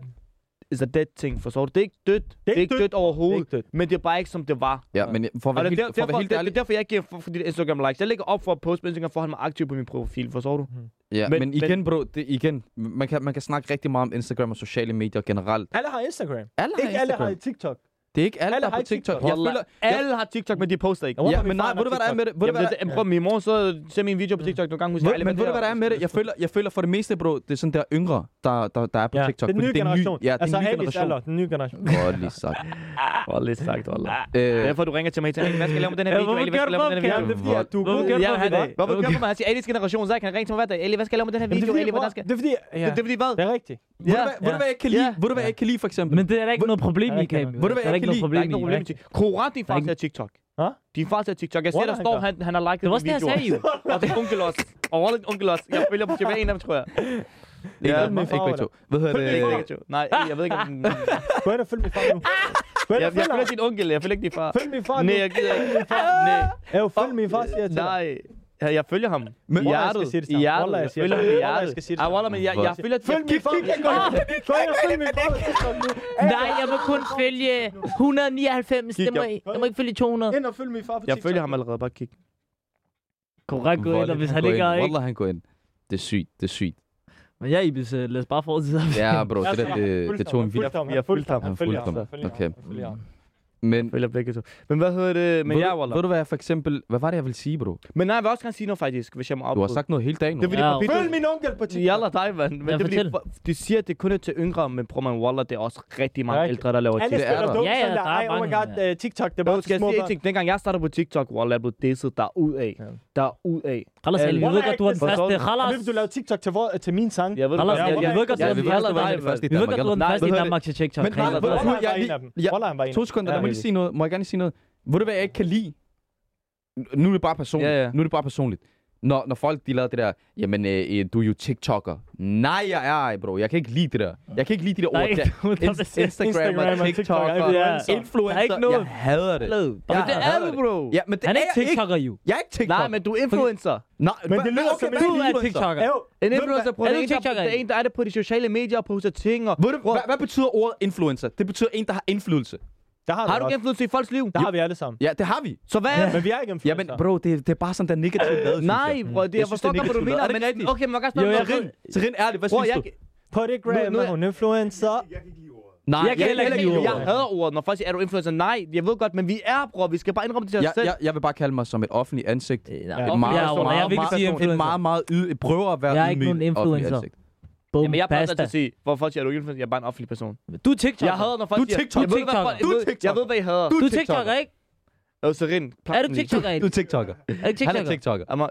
is a dead thing, forstår du? Det er ikke dødt. Det er ikke dødt overhovedet.
Det er ikke
Men det er bare ikke, som det var.
Ja, men for at
Og
være
det er,
helt,
der,
for at
derfor,
være
det,
helt
det er
ærlig.
derfor, jeg ikke giver for, for dit Instagram likes. Jeg lægger op for at poste på Instagram for at holde mig aktiv på min profil, forstår du?
Ja,
men-
men igen, bro, det, igen, man kan, man kan snakke rigtig meget om Instagram og sociale medier generelt.
Alle har Instagram.
Alle har
Ikke alle har
Instagram.
TikTok.
Det er ikke alle,
alle
der er
har
på
ikke
TikTok.
TikTok.
Jeg føler,
Alle har TikTok, men de poster ikke.
Hvorfor
ja,
har vi
men nej,
fejl
ved du hvad der er
TikTok?
med det? Ved du
Jamen,
hvad
det,
der-
det, prøv, min mor så ser min video på TikTok nogle gange, hun siger,
Ved-
"Ali,
Men ved du hvad der er med det? Jeg føler, jeg føler for det meste, bro, det er sådan der yngre, der, der, der er på
Ja,
TikTok.
den
fordi
nye
det er en
generation.
ja, det er
altså,
en ny
Alis
generation.
alder, den nye generation.
Godt lige sagt.
Hvor lidt sagt, Wallah. Det er
Øh,
derfor, du ringer til mig til, hvad skal jeg lave med den her
Ja,
video?
hvorfor
Ali, hvad
gør
skal jeg
du
lave med den
bare
her
Ja,
video?
det er fordi,
Hvorfor-
at du
hvorfor gør
Jamen,
du
det
Jeg
Hvorfor
vil have
gør
det. Hvorfor
du
gør du mig? Han siger, Ali's generation, så kan han ringe til mig hver dag. Ali, hvad skal jeg lave med den her
er
video?
fordi,
Ali,
bror,
hvordan skal...
det er fordi, ja,
Det er fordi, hvad?
det er rigtigt.
Ved du hvad- ved du
ja.
hvad jeg ikke kan
Ja.
lide? Ved du hvad jeg ikke kan lide, for eksempel?
Men det er der ikke noget problem i,
ikke
Kamil.
noget.
Ved du, hvad
Der er
jeg kan lide?
ikke noget
Der er ikke
problem
noget
i.
problem med TikTok. Koran, din
Der
far
er ikke-
ser TikTok.
Hva?
Din far ser TikTok. Jeg ser,
Wallah,
der
han
står,
gør.
han, han har liket
Det var også det, jeg sagde jo.
Og det er onkel også. Og Wallah, onkel også. Jeg følger på tilbage en af dem, tror jeg.
Ikke
Ja,
alle,
min
ikke
farve,
begge to. Ved du
Det
hvad
er
det
ikke jo. Nej, jeg ved ikke, om den...
Gå ind og følg min far nu. Gå ind og
Jeg, jeg
følg
følger
ham.
sin onkel, jeg følger ikke din far.
Følg min far nu.
Nej, jeg gider ikke din far. Nej.
Jo, følg min far, siger jeg til dig.
Nej. Ja, Jeg følger ham.
Men-
Men, I
Wallah,
jeg skal
hjertet.
sige det
I
til ham.
hjertet.
Wallah, jeg
Jeg
siger
følger
det
ham i
til ham. Wallah, jeg skal
hjertet.
sige det
Ej,
til ham.
Wallah, men jeg, jeg følger...
Følg min far. Gå ind og- Gå ind og følg min far. på TikTok nu.
Nej, jeg må kun følge 199. Det må, jeg må ikke følge 200.
Ind og følg min far på
Jeg
TikTok.
følger ham allerede, bare kig.
Korrekt gå ind, og hvis han ikke er ikke.
Wallah, han går ind. Det er sygt, det er sygt.
Men ja, Ibis, øh, lad os bare fortsætte.
Ja, bro, det,
Altså,
der, det, det tog en vild...
fulgte ham,
Jeg- jeg fulgte ham,
han
jeg
fulgte
fulgte
ham,
ham.
jeg fulgte ham,
Okay.
jeg fulgte ham.
Men,
Følger begge to. Men hvad hedder det? Men
ved,
ja,
du,
Wallah.
ved du hvad jeg for eksempel... Hvad var det, jeg ville sige, bro?
Men nej, jeg vil også gerne sige noget faktisk, hvis jeg må
Du har
afbryde.
sagt noget hele dagen nu.
Det er fordi,
Ja,
papir-
Følg min onkel på TikTok.
Jalla dig, mand. Men
Ja,
det er
fortæl.
fordi, de siger, at det kun er til yngre, men prøv man, Wallah, det er også rigtig mange
Ja, ikke?
ældre, der laver
Alle
TikTok.
Det er
spiller
der.
dumme,
Ja, ja,
sådan der,
der er
"Ej, oh my
mange,
god,
ja.
øh, TikTok, det er
Bro,
bare
skal jeg
små
sige en
børn."
ting? Dengang jeg startede på TikTok, Wallah, jeg blev disset derudad.
Ja.
Derudad.
Khalas,
Ja,
Ali, vi
Wallah,
ved godt, du er den
ikke det
første.
samme.
Khalas,
Hvem vil du lave TikTok til, hvor, til min sang?
Jeg ved
Khalas,
Ja,
jeg- jeg
Wallah,
ved godt,
ja,
du er
vi
den
ved
første.
godt,
Wallah,
dig,
det er først i
Vi ved
Danmark.
godt, du er den
Nej,
første i
ved du
Danmark til TikTok.
Men nej,
Khalas,
ved du
altså.
Wallah, han var
jeg-
en af dem.
jeg-
Wallah, han var en.
To sekunder,
Ja,
der må jeg lige sige noget. Må jeg gerne lige sige noget? Ved du, hvad jeg ikke kan lide? Nu er det bare personligt.
Ja, ja.
Nu er det bare personligt. Når, når folk de laver det der, jamen øh, øh, du er jo TikToker. Nej, jeg er ej, bro. Jeg kan ikke lide det der. Jeg kan ikke lide de der
Der er
ord.
ikke
der.
nogen, der vil
Inst-
sige
Instagram
Instagram og TikTok
og
er
TikToker.
ikke
Ja.
engang sådan.
Influencer.
Der er ikke noget.
Jeg hader det.
Men
Jeg
det
er
hader
du,
det.
bro.
Ja, men det
Han er ikke
jeg
TikToker, jo.
Jeg er ikke TikToker.
Nej, men du er influencer.
Nej,
Men
hva-
det lyder
okay,
som
men
en-
Du er
influencer.
TikToker.
Jo,
En
hvem-
influencer, bro,
Er
det er
du
en, der-
TikToker,
det er en, der er det på de sociale medier og poster ting. Og...
Ved du, hvad, hvad betyder ordet influencer? Det betyder en, der har indflydelse.
Der har,
Har
vi
du
også.
ikke indflydelse i folks liv?
Der har vi alle sammen.
Ja, det har vi.
Så hvad er det?
Men vi er ikke
Ja, men
influencer.
bro, det, det er bare sådan, der er negativt
Øh,
lavet, synes jeg.
Nej, bror, det, jeg,
Jeg synes,
forstår
det er
godt, hvad du
negativt.
mener.
Er det
Men,
ikke rigtigt?
okay, men man kan spørge
Jo,
om
jeg
noget.
ved-
Rin-
Serin, ærligt, hvad
Bror,
synes
jeg,
du?
På det
Nu-
gram
nu er-
er hun influencer.
Nej,
jeg kan heller ikke lide
Jeg
ordet.
hader ordet, når folk siger, er du influencer? Nej, jeg ved godt, men vi er, bror. Vi skal bare indrømme det til os
jeg,
selv.
jeg, jeg vil bare kalde mig som et offentligt ansigt.
Øh,
Et
nej.
meget,
Ja, Wallah, jeg vil ikke sige
meget, et
influencer.
meget, meget yd, et prøver at være
Jeg er ikke
ydmyg
nogen
offentligt
influencer.
ansigt.
Boom,
Jamen, jeg plejer altid
basta.
at sige, hvorfor siger du ikke influencer? Jeg er bare en offentlig person.
Du er TikTok.
Jeg hader, når folk
Du er
siger...
TikToker.
Jeg ved, hvad,
Du er
folk- jeg ved-
TikToker.
Jeg ved, hvad I hader.
Du
Du
er
er
TikTok,
TikToker.
ikke?
Øh, Serin, plak
Er du
den lige.
TikToker,
Du
ikke?
er TikToker.
Er du
Han er
TikToker?
TikToker.
Jamen,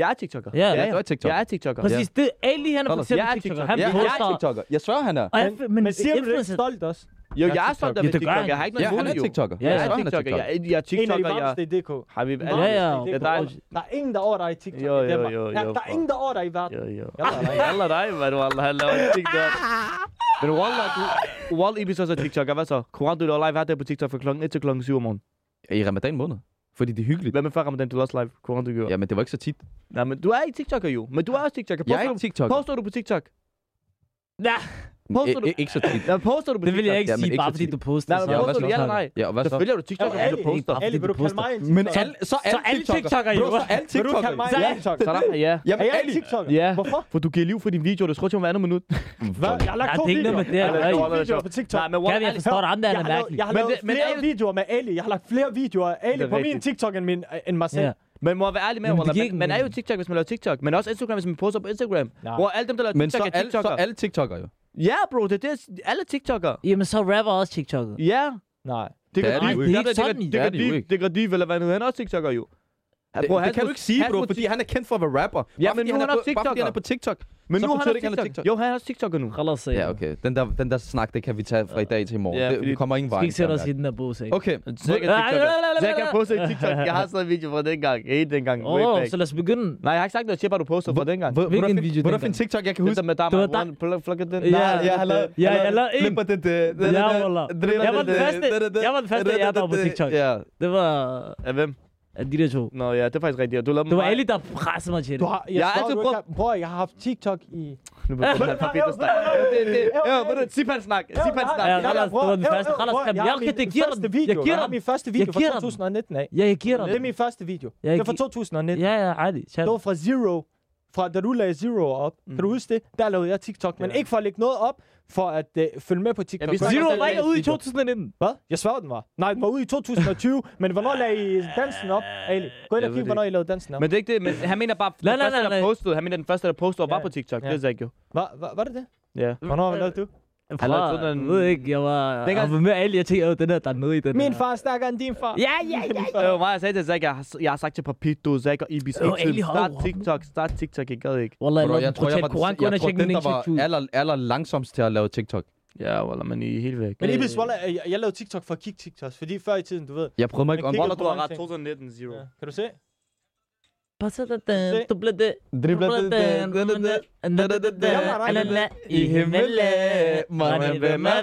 Jeg er TikToker.
Ja,
Ja, du er TikToker.
Jeg er TikToker.
Præcis, det er Ali, han er for
Hold
eksempel
op. Jeg er
TikToker.
TikTok.
Han
Ja, jeg er
poster.
TikToker. Jeg svører, han er.
Og jeg,
Men-
men,
Men siger du det ikke
influencer,
stolt også?
Jo,
Jeg er
jeg er stolt af
TikToker.
at være
Ja, det gør
TikToker. Jeg har
han.
ikke noget
Ja,
imod
han er
det, jo.
TikToker.
Ja,
Jeg
Jeg
er
svører, han er
TikToker.
TikToker.
Jeg er- Jeg er
En af de
TikToker. Jeg
varmeste i DK.
har vi
Ja,
ja.
Det
Det
er
er dig.
Der er ingen, der er over dig i TikTok
Jo,
i
jo,
Danmark.
jo,
Der,
jo,
der er
bro.
ingen, der er over dig i verden.
Jo, jo.
Jalla dig.
Jalla dig, hvad du Allah han laver en TikTok. Men Wallah, du... Wallah, Ibis også er TikToker. Hvad så? Koran, du laver live hver dag på TikTok fra klokken 1 til klokken 7 om morgenen.
I ramadan måned. Fordi det er hyggeligt.
Hvad med før Ramadan, du er også live? Koran, du gjorde.
Ja, men det var ikke så tit.
Nej, men du er ikke TikToker jo. Men du er også TikToker.
Jeg er
Poster
ikke
du-
TikToker.
Poster du på TikTok?
Nej,
Poster du?
I- i- Ikke så tit.
Ja, poster du på
det
TikTok?
vil jeg ikke
Ja, men
sige,
ikke
bare
så
fordi
tit.
du poster.
Nej, men
så-
Ja, hvad
poster du,
så?
ja eller nej?
Ja, og hvad
Så
så?
følger du TikTok,
Jo,
og du
alle-
poster.
Ali, vil du kalde mig en TikToker?
Men alle, så
Så alle TikToker, jo.
Bro, så alle
Vil du
TikToker.
kalde mig
Ja.
en TikTok?
Så der, ja.
Er
Jamen,
jeg en
Ali.
TikToker?
Ja.
Hvorfor?
For du giver liv for din video, det tror jeg om andet minut.
Hvad? Jeg har lagt
Ja,
to
det er ikke
videoer.
noget med det,
Jeg har lagt
Ali.
to videoer på TikTok.
Nej, men
Kan altså jeg
Wallah,
forstår dig, andet
Jeg
han
har
er
lavet,
mærkelig.
jeg har
Men
lavet
det- men
flere
Ali-
videoer med Ali. Jeg har lagt flere videoer af Ali
Det er
på min
rigtigt.
TikTok end, min, end mig selv.
Ja.
Man må være ærlig med,
Jamen, det
Wallah.
giver
Man,
ikke
man er jo
mening.
TikTok, hvis man laver TikTok. Men også Instagram, hvis man poster på Instagram.
Nej.
Hvor alle dem, der laver
Men så
TikTok, er
alle, så
TikToker.
alle TikToker jo.
Ja, bro, det er det, alle TikToker.
Jamen, så rapper også TikTok.
Ja.
Nej.
Det
er
gør
de
de
jo
jo
ikke.
Det er ikke sådan,
Det
det
gør
er de jo
de,
ikke.
det gør de, eller hvad nu? Han er også TikToker jo. Ja,
Det,
bror,
det
hans
kan du
mo-
ikke sige,
hans
bro,
motiv-
fordi han er kendt for at være rapper.
Ja,
Bare
men
fordi
nu er han også
på- Bare fordi han er på TikTok.
Men
så
nu han
betyder
er
det ikke, han er
TikTok.
TikTok.
Jo, han er også TikToker nu.
Khalas, sagde
Ja,
jeg.
okay. Den der, den der snak, det kan vi tage fra i dag til i morgen.
Ja,
det, vi
fordi-
kommer ingen
Vi
vej.
skal ikke sætte os i den der bås, ikke?
Okay.
Sikkert
Ej,
TikToker.
la, la, la,
Så jeg
la,
kan
la.
poste en TikTok. Jeg har stadig en video fra dengang. Hey, dengang. Way
Åh,
back.
så lad os begynde.
Nej, jeg har ikke sagt noget. Jeg siger bare, du postede fra dengang.
Hvor-
Hvilken
hvor der
video
fin- Hvor der
dengang?
findes TikTok, jeg kan
Det
huske?
der med dig,
det var
man. Pluk- Plukker den.
Ja.
Nej,
jeg har lavet...
Ja, jeg lavede en.
Flipper det, det, det,
Jeg
det-
var la-
det-
Jeg var den
det-
første-
det- det-
jeg var den første,
det-
jeg var på
det-
TikTok.
Ja.
Det var
Af hvem?
af de der to.
Nå ja, det er faktisk rigtigt. Du lavede
Det var
mig-
Ali, der pressede mig til
Du
det.
har, jeg, jeg har altid brugt... Bror, jeg har haft TikTok i...
Nu begynder
Ja.
han alfabetesnak. Det er det. Ja, ved du, Sip hans snak. Sip hans snak.
Ja, ja, ja. det var den første. Khalas,
bror,
jamen,
jeg
jeg
har
kan- det
min
giver
første
den. Jeg
video.
giver
Jeg har
den.
min første
Jeg
video
giver
fra
den.
2019 af.
Ja, jeg giver dig.
Det er min første video.
Jeg
Det er fra
gi-
2019.
Ja, ja, Mm. Ali. Chat.
Det var fra Zero. Fra da du lagde Zero op. Kan du huske det? Der lavede jeg TikTok. Men
Ja.
ikke for at lægge noget op, for at øh, følge med på TikTok.
Ja, vi snakker
Zero
selv
var ikke
dansk
ude i
video.
2019.
Hvad? Jeg svarede, den var. Nej, den var ude i
*laughs*
2020. men hvornår lagde I dansen op, Ali? Gå ind
Jeg
og
ved
kig,
det
hvornår I lavede dansen op.
Men det er ikke det, men han mener bare,
Nej,
den
nej, nej,
første, der
nej.
postede, han mener, den første, der postede, var
Ja.
på TikTok.
Ja.
Det sagde jeg jo.
Hva, hva, var det det?
Ja.
Hvornår lavede du?
Fra,
lavede sådan en-
jeg ved ikke, jeg var...
Dengang-
Jeg var med Ali, jeg tænkte, "Åh, den der, der er nede i den
Min
her."
far snakker end din far.
Ja, ja, ja.
Det var mig, jeg sagde til Zach, jeg har, jeg har sagt til Papito, Zach og Ibis,
Åh,
hele tiden,
Ali, hold
start
op.
TikTok, start TikTok, jeg gad ikke.
Wallah, jeg
Bro,
lavede
jeg
en
tror, jeg
brutal
var den,
Koran. Gå
jeg
ind og
tror,
tjek min
den, der var
English YouTube.
aller, aller langsomst til at lave TikTok.
Ja, Wallah, men I er helt væk.
Men Ibis, Walla, jeg, jeg lavede TikTok for at kigge TikToks, fordi før i tiden, du ved.
Jeg prøvede mig ikke
Men
om.
kigger
Wallah, du har ret,
Ting.
2019, zero.
Ja. Kan du se?
Pas da den, du blev det.
Dribler det, det, det, det, det.
I himlen, man hvem er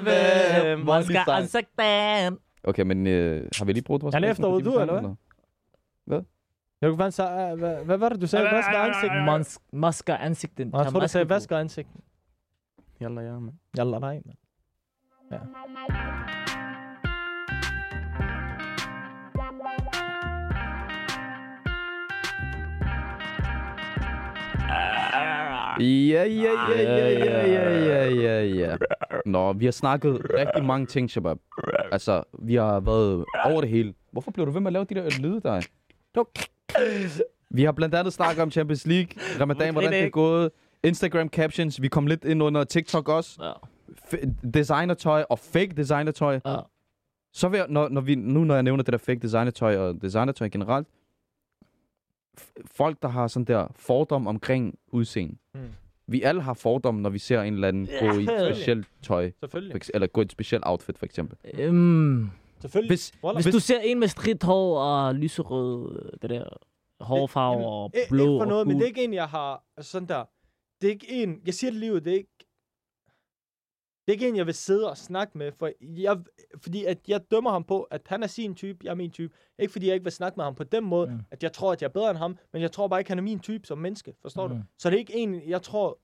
hvem, man skal ansigten.
Okay, men øh, har vi lige brugt vores...
Han er efter
spørgsmål?
Udu, eller hvad? Jeg kunne fandme sige, hvad, hvad var det, du sagde? Vasker ansigten.
Man man skal ansigten.
Nå, jeg tror, du sagde, vasker ansigten.
Jalla, ja, man.
Jalla, nej, mand.
Ja, ja, ja, ja, ja, ja, ja, ja, ja. Nå, vi har snakket rigtig mange ting, Shabab. Altså, vi har været over det hele. Hvorfor blev du ved med at lave de der lyde, der? Vi har blandt andet snakket om Champions League, Ramadan, hvordan det er gået, Instagram captions, vi kom lidt ind under TikTok også,
Ah,
F- designertøj og fake designertøj.
ah,
Så vil jeg, når, når vi, nu når jeg nævner det der fake designertøj og designertøj generelt, f- folk, der har sådan der fordom omkring udseende.
Mm.
Mm. Vi alle har fordom, når vi ser en eller anden gå i et
selvfølgelig.
specielt tøj,
Selvfølgelig.
for ekse- eller gå i et specielt outfit, for eksempel.
Selvfølgelig.
Hvis,
Walla.
Hvis du ser ah, en med stridt hår og lyserød, det der
Eh,
hårfarve og
Ikke-
blå
Ikke for noget,
og
men det er
gul.
ikke en, jeg har altså sådan der. Det er ikke en, jeg siger det livet, det er ikke... Det er ikke en, jeg vil sidde og snakke med, for jeg, fordi at jeg dømmer ham på, at han er sin type, jeg er min type. Ikke fordi jeg ikke vil snakke med ham på den måde,
Mm.
at jeg tror, at jeg er bedre end ham, men jeg tror bare ikke, han er min type som menneske, forstår du?
Mm.
Så det er ikke en, jeg tror,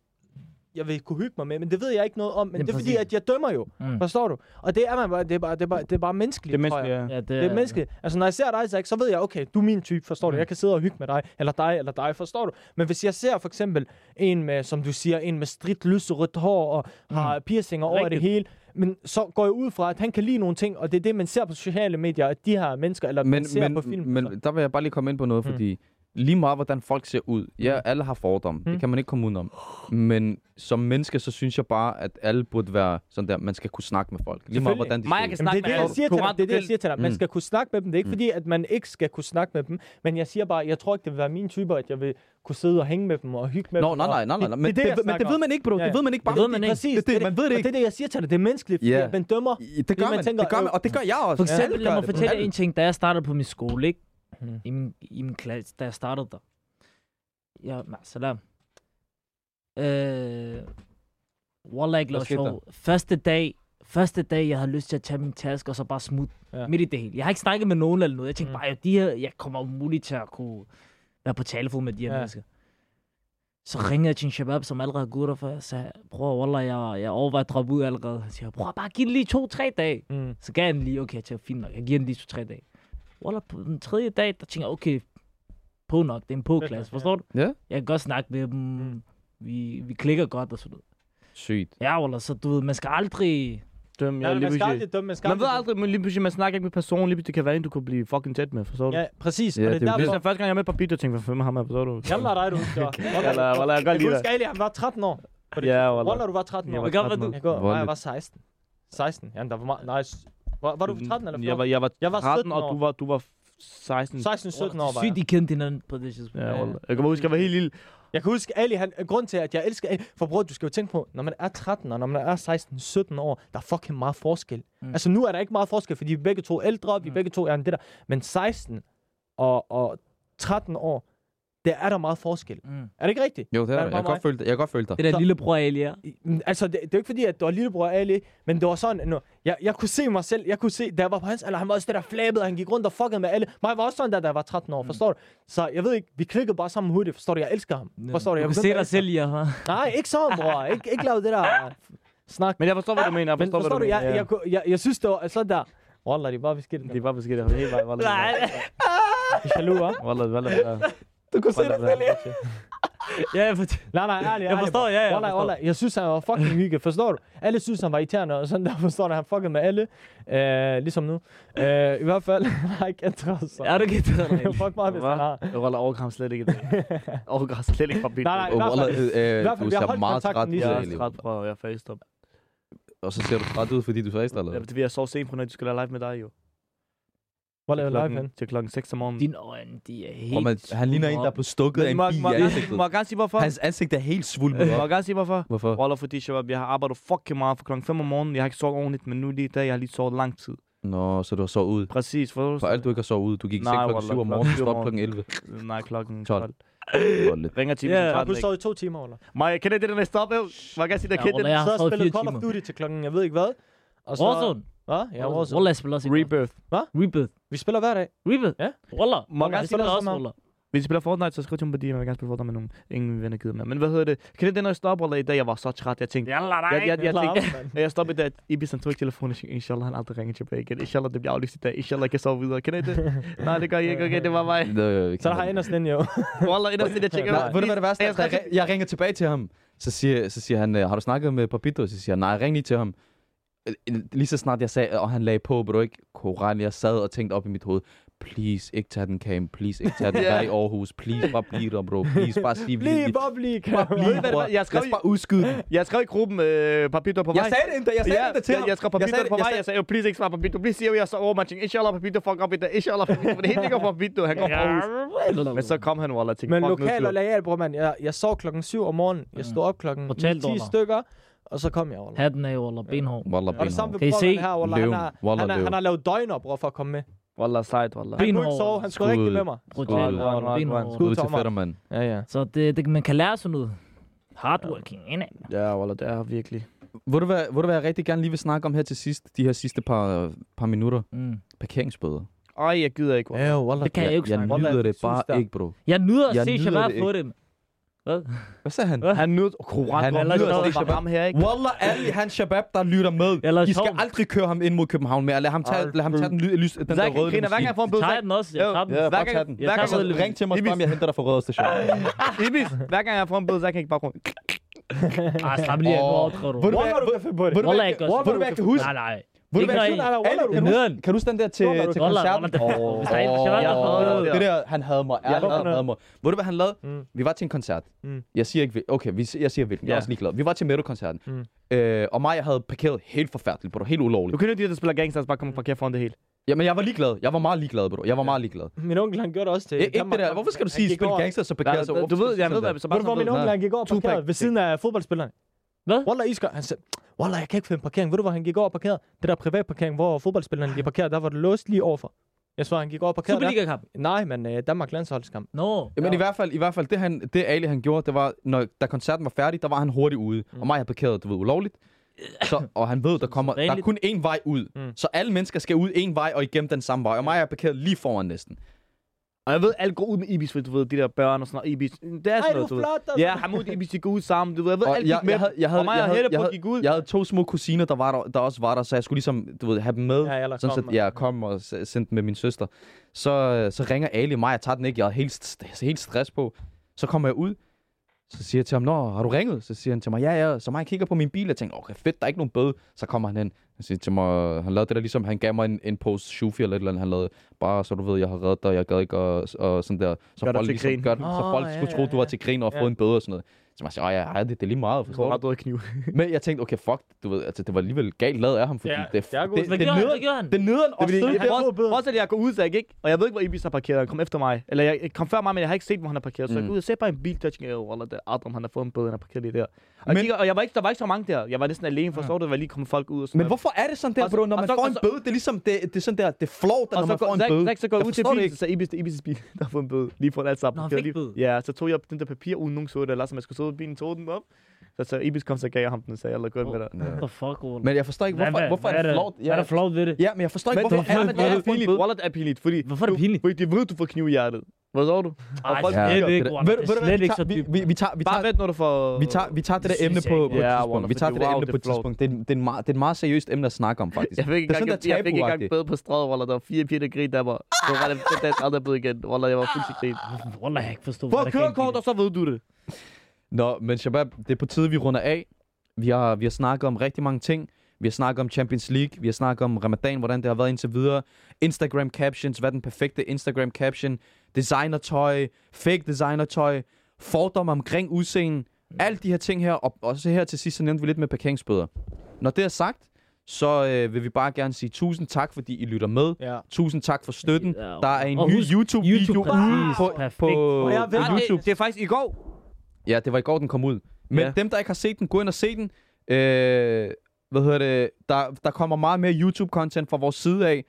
jeg vil kunne hygge mig med, men det ved jeg ikke noget om, men
Jamen,
det er fordi,
præcis.
at jeg dømmer jo,
Mm.
forstår du? Og det er, man bare, det er bare, det er bare, det er bare
Det
menneskeligt,
er
tror jeg.
menneskeligt, ja.
Ja,
Det er menneskeligt. Altså, når jeg ser dig, Zach, så ved jeg, okay, du er min type, forstår du?
Mm.
Jeg kan sidde og hygge med dig, eller dig, eller dig, forstår du? Men hvis jeg ser for eksempel en med, som du siger, en med stridt lyserødt hår og
Mm.
har piercinger over det
Rigtigt.
hele, men så går jeg ud fra, at han kan lide nogle ting, og det er det, man ser på sociale medier, at de her mennesker, eller men, man
men,
ser
men,
på film.
men der vil jeg bare lige komme ind på noget,
Mm.
fordi lige meget, hvordan folk ser ud. Ja,
Mm.
alle har fordomme.
Mm.
Det kan man ikke komme udenom. Men som menneske, så synes jeg bare, at alle burde være sådan der. Man skal kunne snakke med folk. Lige meget,
Selvfølgelig.
hvordan de
Maja
ser ud.
kan
Jamen, det er
snakke
det, jeg
med
siger til dig. Det er det, jeg siger til dig. Man
Mm.
skal kunne snakke med dem. Det er ikke
Mm.
fordi, at man ikke skal kunne snakke med dem. Men jeg siger bare, jeg tror ikke, det vil være min type, at jeg vil kunne sidde og hænge med dem og hygge med
Nå,
dem.
nej,
og-
nej, nej, nej. nej. Men,
det,
det,
jeg
det, men det
snakker
ved
om.
man ikke, bro.
Ja, ja.
Det ved man ikke bare.
Det ved man ikke.
Præcis.
Det, det, man ved det
Og
ikke.
det Mm. er det, jeg siger til dig. Det er menneskeligt, fordi
Ja.
at man dømmer.
Det, det
fordi
gør
man
man,
tænker,
det gør
øh,
man, og det gør jeg
For
også.
eksempel,
Alle
lad
gør
mig
det.
fortælle jer
Alle.
en ting. Da jeg startede på min skole, ikke?
Mm.
I min, i min klasse, da jeg startede der. Ja, ma salam. Øh, Wallah, ikke
Hvad
lavet
skete
sjov. Første dag, første dag, jeg havde lyst til at tage min taske, og så bare smutte
Ja.
ja. midt i det hele. Jeg har ikke snakket med nogen eller noget. Jeg tænkte
Mm.
mm. bare, "Jo, de her, jeg kommer umuligt til at kunne være på talefod med de her
Ja.
ja. mennesker. Så ringede jeg til en shabab, som allerede er gutter, for jeg sagde, bror, wallah, jeg, jeg overvejer at droppe ud allerede. Jeg siger, bror, bare giv det lige to-tre dage.
Mm.
Så gav jeg den lige, okay, jeg tænker, fint nok, jeg giver den lige to-tre dage. Wallah, på den tredje dag, der tænker jeg, okay, på nok, det er en på-klasse, forstår du?
Ja.
Jeg kan godt snakke med dem,
Mm.
vi, vi klikker godt og sådan noget.
Sygt.
Ja, Wallah, så du ved, man skal aldrig...
Døm,
Nej,
ja, lige
man skal
pludselig.
aldrig dømme. Man skal
Man ved
aldrig...
aldrig, men lige pludselig, man snakker ikke med personen, lige pludselig, det kan være en, du kunne blive fucking tæt med, forstår du?
Ja, præcis.
Ja,
og det
det
er
er jo
Det er
derfor...
sådan, første gang, jeg er med på beat, jeg tænkte, hvad fanden med ham her, forstår du?
*laughs* Jeg lader dig, du husker.
Wallah, wallah, jeg kan
Jeg
godt lide
husker, Ali, han var 13 år. på det
Ja,
tidspunkt.
wallah.
Wallah, du var 13
Jeg
år.
var
Hvor gammel var
13 år.
du?
Jeg går, nej,
Voldeligt.
jeg var 16. 16, ja, der var meget, nej, s- var, var du 13 eller 14?
Jeg var, jeg var,
Mm, Jeg var
13,
17
og
år.
du var, du var 16.
16, 17 år var
Sygt,
jeg.
I kendte hinanden på det tidspunkt.
Ja, wallah. jeg kan bare huske, jeg var helt lille.
Jeg kan huske, Ali, han, grund til, at jeg elsker Ali, for bror, du skal jo tænke på, når man er 13 og når man er 16, 17 år, der er fucking meget forskel. Mm.
Mm.
Altså nu er der ikke meget forskel, fordi vi er begge to ældre, vi mm.
Mm.
begge to er en det der. Men 16 og, og 13 år, der er der meget forskel.
Mm.
Er det ikke rigtigt?
Jo, det er
Hvad-
det.
hvad
Jeg kan godt
mig?
føle dig. Jeg kan godt føle dig.
Det der
Så-
lille bror Alia.
I- mm, Altså, det, det er jo ikke fordi, at du var lillebror Ali, men det var sådan, nu, jeg, jeg kunne se mig selv, jeg kunne se, da jeg var på hans alder, han var også det der flabede, han gik rundt og fuckede med alle. Mig var også sådan der, da jeg var 13 år, mm. forstår du? Så jeg ved ikke, vi klikkede bare sammen hurtigt, forstår du? Jeg elsker ham, forstår du?
du
Jeg
kan
begyndte
se
at
dig
elske
selv, ja. hva'?
Nej, ikke så,
*laughs*
bror. Ik- ikke lave det der snak.
Men jeg forstår, hvad du mener. Jeg
Men
forstår,
forstår
hvad
du,
du
jeg,
mener.
jeg, jeg, jeg, jeg synes, det var sådan der. Wallah, de er bare beskidt.
Det var forskelligt. Jeg var helt vej, wallah.
Nej,
er jaloux, hva'?
Wallah, wallah,
*laughs*
wallah.
Du kunne
Wallah, wallah.
ja, jeg forstår.
Nej, nej, ærlig,
Jeg forstår, ja, jeg
Wallah,
forstår.
wallah, jeg synes, han var fucking hygge, forstår du? Alle synes, han var irriterende og sådan der, forstår du? Han fuckede med alle, øh, ligesom nu. Øh, I hvert fald, *laughs* han har ikke ændret sig.
Er du ikke
*laughs*
det?
det er fuck meget, hvis han har.
Jeg Wallah, overgår ham slet ikke. i
*laughs*
dag. Overgår ham slet ikke fra beat.
Nej, nej,
Oh,
i hvert
wallah,
fald-
øh, øh,
i hvert fald,
du
vi har
ser
holdt
meget
kontakten
træt
lige
ud,
så-
Jeg er
er
Ali.
også træt, bror. Jeg er faced up.
Og så ser du træt ud, fordi du så ekstra, eller?
Ja,
hvad?
Det er fordi, jeg sov sent på, når du skulle lave live med dig, jo.
Wallah, jeg
Til
er live
klokken-
hen.
Til klokken 6 om morgenen.
Dine øjne, de er
Prøv,
helt...
man, han ligner en, der er blevet stukket af en
må, må,
bi i ansigtet.
må jeg gerne sige, hvorfor?
Hans ansigt er helt svulmet
Må
op.
jeg gerne sige, hvorfor?
Hvorfor?
Wallah, fordi shabab, jeg har arbejdet fucking meget fra klokken 5 om morgenen. Jeg har ikke sovet ordentligt, men nu lige i dag, jeg har lige sovet lang tid.
Nå, så du har sovet ud.
Præcis, for,
For alt du ikke har sovet ud. Du gik i
Nej,
seng klokken
wallah,
7 om
klokken
morgenen,
syv om
stod klokken 11.
Nej, klokken
12.
12.
Lollet.
Ringer til
Ja,
yeah,
Har
12.
du sovet i to timer, eller?
Maja, kender I det, der med stop, ev? Må jeg gerne sige, der
Ja,
kender
wallah,
det?
Så
jeg har
har jeg
sovet
spillet
fire
Call of
timer.
Duty til klokken, jeg ved ikke hvad. Og så,
Warzone.
Hvad? Ja, Warzone.
Wallah, jeg spiller også ikke.
Rebirth.
Rebirth.
Vi spiller hver dag.
Rebirth?
Ja.
Wallah.
Må jeg
Wallah,
gerne
Jeg
jeg
spiller
sige,
spiller
også
også
Wallah.
hvis I spiller Fortnite, så skriv til mig på DM, jeg vil gerne spille Fortnite med nogen. Ingen venner gider med. Men hvad hedder det? Kender I det, når jeg stopper, eller i dag, jeg var så træt, jeg tænkte,
Yalla, nej.
jeg, jeg, jeg,
Larm,
tænkte,
mand.
jeg stopper i dag, Ibis han tog ikke telefonen, jeg tænkte, inshallah, han aldrig ringer tilbage igen. Inshallah, det bliver aflyst i dag. Inshallah, jeg kan sove videre. Kender I det?
*laughs*
Nej, det gør jeg ikke. Okay, det var mig.
Nå, jeg ikke.
Så der har jeg endelig sådan en, jo.
Wallah, endnu sådan, jeg tjekker.
Nej, ved du, hvad det værste er?
Jeg skal-
Jeg, jeg ringer tilbage til ham. Så siger, så siger han, øh, har du snakket med Papito? Så siger han, nej, ring lige til ham. Øh, øh, Lige så snart jeg sagde, og han lagde på, bro, ikke? Koran, jeg sad og tænkte op i mit hoved, please, ikke tag den cam, please, ikke *laughs* tag den
Ja.
der i Aarhus, please, bare bliv der, bro, please, bare sig, bliv,
Bliv, bare bliv, kan
Bare bliv,
hvad-
bror.
jeg
Jeg
skrev
skal
i-
bare udskyde den.
Jeg skrev i gruppen, øh, Papito er på vej.
Jeg sagde det endda, jeg sagde det endda til
jeg,
ham.
jeg skrev Papito
sagde
er på
det- jeg
vej.
sagde-
Jeg sagde, jo, please ikke svare Papito. Please siger jo, jeg så over, man tænkte, inshallah, Papito, fuck op i dag. Inshallah, Papito. For det hele ligger Papito. Han kom fra hus. Men så kom han, Wallah, og tænkte,
Men
fuck, nu
lokal
styrer-
og lojal, bror mand. Jeg, jeg sov klokken 7 om morgenen. Jeg stod op klokken
Hotel
10
dollar.
stykker, og så kom jeg over.
Hatten af, Wallah. Benhård.
*laughs* Wallah,
Og det samme ved
Kan I
broren
se?
her, Wallah, han,
Løven.
har,
Wallah,
han, har,
løven.
han har lavet døgner, bror, for at komme med.
Wallah, sejt, Wallah.
Han kunne
Benhård.
ikke sove, han skulle rigtig
Skud.
med mig.
Wallah,
Brutal.
wallah, wallah.
Benhård.
Skud til
Tommer.
fætter, mand.
Ja, ja.
Så det, det, man kan lære sådan noget. Hardworking, indad.
Ja, Wallah, det er virkelig.
Ved du, hvad, ved du, hvad jeg rigtig gerne lige vil snakke om her til sidst, de her sidste par, par minutter?
Mm.
Parkeringsbøder.
Ej, jeg gider ikke, Wallah.
Ja, Wallah.
Det kan jeg jo ikke
jeg
snakke om.
Wallah,
nyder det
sus der.
bare ikke, bro.
Jeg nyder
Jeg
at se
nyder
Shabab
det
få dem. Hvad?
Hvad sagde han?
Han nød
Han
koran. Han
nyder
nød
det,
det
Shabab.
ham her, ikke?
Wallah, alle han shabab, der lytter
Jeg lader
med. I skal
sjov.
aldrig køre ham ind mod København mere. Lad ham tage, lad ham tage den, ly- lys, den der
Zach,
røde
griner, hver gang jeg
limousine.
får en bøde,
Tager
Zach,
den også? Jeg tager den.
Ja,
Hver
bare
gang-
tag den.
jeg tager
Altså,
røde
Ring til mig og spørg, om jeg henter dig fra Røde Station.
Ibis, hver gang jeg får en bøde, Zach kan ikke bare rundt.
Ah, slap
Åh.
lige. Nu overdriver du.
Ved du hvad-
Wallah, du kan finde på det.
Ved du, hvad
Wallah,
jeg-
ikke også.
ved du, hvad jeg kan huske?
Nej, nej.
Ved du
Ikke
hvad?
noget i.
Nej, nej, Wallah,
Alle-
du-
Det er nederen.
Kan du huske den der til,
Wallah,
til
Wallah,
koncerten?
Wallah, det-
Åh,
Hvis der er en, der siger
åh,
Wallah,
åh,
Wallah.
Det der, han havde mig. Ja, han havde, havde mig. Ved du, hvad han lavede?
Mm.
Vi var til en koncert.
Mm.
Jeg siger ikke, hvil- okay, vi, jeg siger hvilken. Jeg er
Ja.
også ligeglad. Vi var til Metal-koncerten.
Mm.
Øh, og mig havde parkeret helt forfærdeligt, bro. Helt ulovligt.
Du kender de, der spiller gangsters, bare kommer fra kæft foran det hele.
Jamen, jeg var ligeglad. Jeg var meget liglad, bro. Jeg var meget ligeglad.
Min onkel, han gjorde det også til...
Ja, ikke det
Danmark-
der. Øh, Hvorfor skal
Han
du sige,
gik
spil
over-
gangster, så
Nej,
parkerer sig?
du ved, jeg ved, hvad så
Ved
bare
du, hvor
sådan
min
noget.
onkel, han gik over og
Tupac.
parkerede ved siden af fodboldspilleren?
Hvad?
Wallah, Isker, han sagde, Wallah, jeg kan ikke finde parkering. Ved du, hvor han gik over og parkerede? Det der privatparkering, hvor fodboldspilleren lige parkerede, der var det låst lige overfor. Jeg svarer, han gik over og parkerede der.
Superliga-kamp.
Nej, men øh, Danmark landsholdskamp.
No.
Men i hvert fald, i hvert fald det, han, det Ali han gjorde, det var, når, da koncerten var færdig, der var han hurtigt ude. Mm. Og mig har parkeret, du ved, ulovligt. *laughs* Så, og han ved, der, kommer, der er
sædvanligt.
kun én vej ud.
Mm.
Mm. Så alle mennesker skal ud én vej og igennem den samme vej. Og mig er parkeret lige foran næsten.
Og jeg ved, alt går ud med Ibis, for du ved, de der børn og sådan noget. Ibis, det er
Ej,
sådan
du er
noget, du ved.
flot, altså.
Ja, Hamoud og Ibis, de går ud sammen, du ved. Jeg ved,
Og
alt
jeg-
gik med.
jeg havde- jeg havde-
og mig
jeg
og
havde-
Helle
jeg
på
havde-
gik ud.
Jeg havde to små kusiner, der, var der, der også var der, så jeg skulle ligesom, du ved, have dem med.
Ja, eller
sådan
kom,
set, jeg kom og s- sendte dem med min søster. Så, øh, så ringer Ali mig, jeg tager den ikke, jeg er helt, st- helt stress på. Så kommer jeg ud, så siger jeg til ham, Nå, har du ringet? Så siger han til mig, ja, ja. Så mig kigger på min bil, og tænker, okay, fedt, der er ikke nogen bøde. Så kommer han hen, han siger til mig, han lavede det der ligesom, han gav mig en, en pose shufi eller et eller andet, han lavede, bare så du ved, jeg har reddet dig, jeg gad ikke, og, og sådan der. Så
Gør dig
folk,
til
ligesom,
grin.
gør, så
Åh,
folk
ja,
skulle
ja,
tro, du
ja.
var til grin og
Ja.
ja. fået en bøde og sådan noget. Så jeg siger, ja, det, det er lige meget,
Jeg tror,
forstår
han
du?
har kniv.
Men jeg tænkte, okay, fuck, du ved, altså, det var alligevel galt lavet af ham, fordi
Ja,
det, det,
jeg er god.
det,
Hvad
det,
gjorde han?
nyder-
Hvad gjorde han?
det nødder og
Det er
søde.
fordi,
han får bøden.
også, at jeg går ud, så jeg gik, og jeg ved ikke, hvor Ibis har parkeret. Han kom efter mig. Eller jeg jeg kom før mig, men jeg har ikke set, hvor han har parkeret. Så jeg
Mm.
går ud og ser bare en bil, der tænker, "Åh, wallah, der er Adam, han har fået en bøde, han har parkeret lige der. Og,
Men-
men, kigger, og jeg var ikke, der var ikke så mange der. Jeg var næsten alene, for så var det, var lige kommet folk ud. Og sådan
Men
noget.
hvorfor er det sådan der,
Og så-
bro? Når
og
man
så-
får
og
en
så-
bøde, det er ligesom, det, det er sådan der, det er flot, når
og så,
man
går,
får en
så,
bøde.
så, så går jeg
Jeg
ud til
forstår det
bilen,
ikke.
så Ibis, Ibis' bil, *laughs* der har fået en bøde. Lige foran alt sammen.
Nå, han
Parkeret
fik bøde.
lige- Ja, så tog jeg den der papir, uden nogen så det, eller som jeg skulle sidde i bilen, tog den op. Så, så Ibis kom, så gav jeg ham den, og sagde, jeg godt med dig.
What the fuck, Ole?
Men jeg forstår ikke, hvorfor, hvorfor er det flot?
Hvad er der flot ved det?
Ja, men jeg forstår ikke,
Men
hvorfor
det
er
er,
det
det er
flot?
pinligt. Wallet er pinligt, fordi...
Hvorfor er det
du-
pinligt?
Fordi de ved, du får kniv i hjertet. Hvad så du?
Ej,
folk
slet
Ja.
ikke, Ole. Det er slet ikke så dybt.
Vi tager, vi
Bare
tager,
vent, når du får...
vi tager, vi tager det der
synes
emne
jeg
på,
ikke.
på et
Ja,
tidspunkt.
Wallah,
Vi tager
fordi
det der
wow,
emne
det
på
er
et
flot.
tidspunkt. Det er, en- det, er en meget, det er et meget seriøst emne at snakke om, faktisk.
Jeg fik ikke
Det er
engang, jeg,
sådan, der
jeg fik ikke engang
tabuagtigt.
bøde på strædet, Wallah. Der var fire piger, der grinede af mig. Det var det den deres aldrig bøde igen. Wallah, jeg var fuldstændig grin.
Wallah, jeg ikke forstod,
Få
hvad der gik i
kørekort,
det.
og så ved du det.
Nå, men Shabab, det er på tide, vi runder af. Vi har, vi har snakket om rigtig mange ting. Vi har snakket om Champions League, vi har snakket om Ramadan, hvordan det har været indtil videre. Instagram captions, hvad er den perfekte Instagram caption? Designertøj, fake designertøj, fordomme omkring udseende. Alle de her ting her, og også her til sidst, så nævnte vi lidt med parkeringsbøder. Når det er sagt, så øh, vil vi bare gerne sige tusind tak, fordi I lytter med.
Ja.
Tusind tak for støtten.
Ja,
Der er en
og
ny
husk
YouTube-video
YouTube,
ude
præcis.
på,
Perfekt.
på,
Og
jeg
på
ved-
YouTube.
Det er faktisk i går.
Ja, det var i går, den kom ud. Men ja.
Ja.
dem, der ikke har set den, gå ind og se den. Øh, hvad hedder det? Der, der kommer meget mere YouTube-content fra vores side af.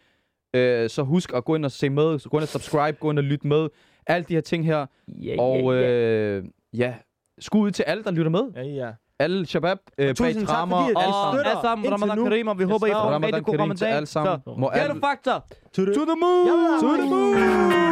Øh, så husk at gå ind og se med. Så gå ind og subscribe. Gå ind og lyt med. Alle de her ting her.
Ja,
Og
ja, ja.
øh, ja, skud ud til alle, der lytter med.
Ja, ja.
Alle shabab øh, bag
tusind tak,
drama.
fordi at I
alle
Og
sammen.
støtter.
alle sammen,
Indtil
Ramadan
nu.
Karim, og vi håber, I får en
Ramadan
rigtig god
Karim til
Ramadan.
alle sammen.
Så-
Må
Get
alle,
a factor!
To the,
To the moon!
Ja, ja.
To the moon!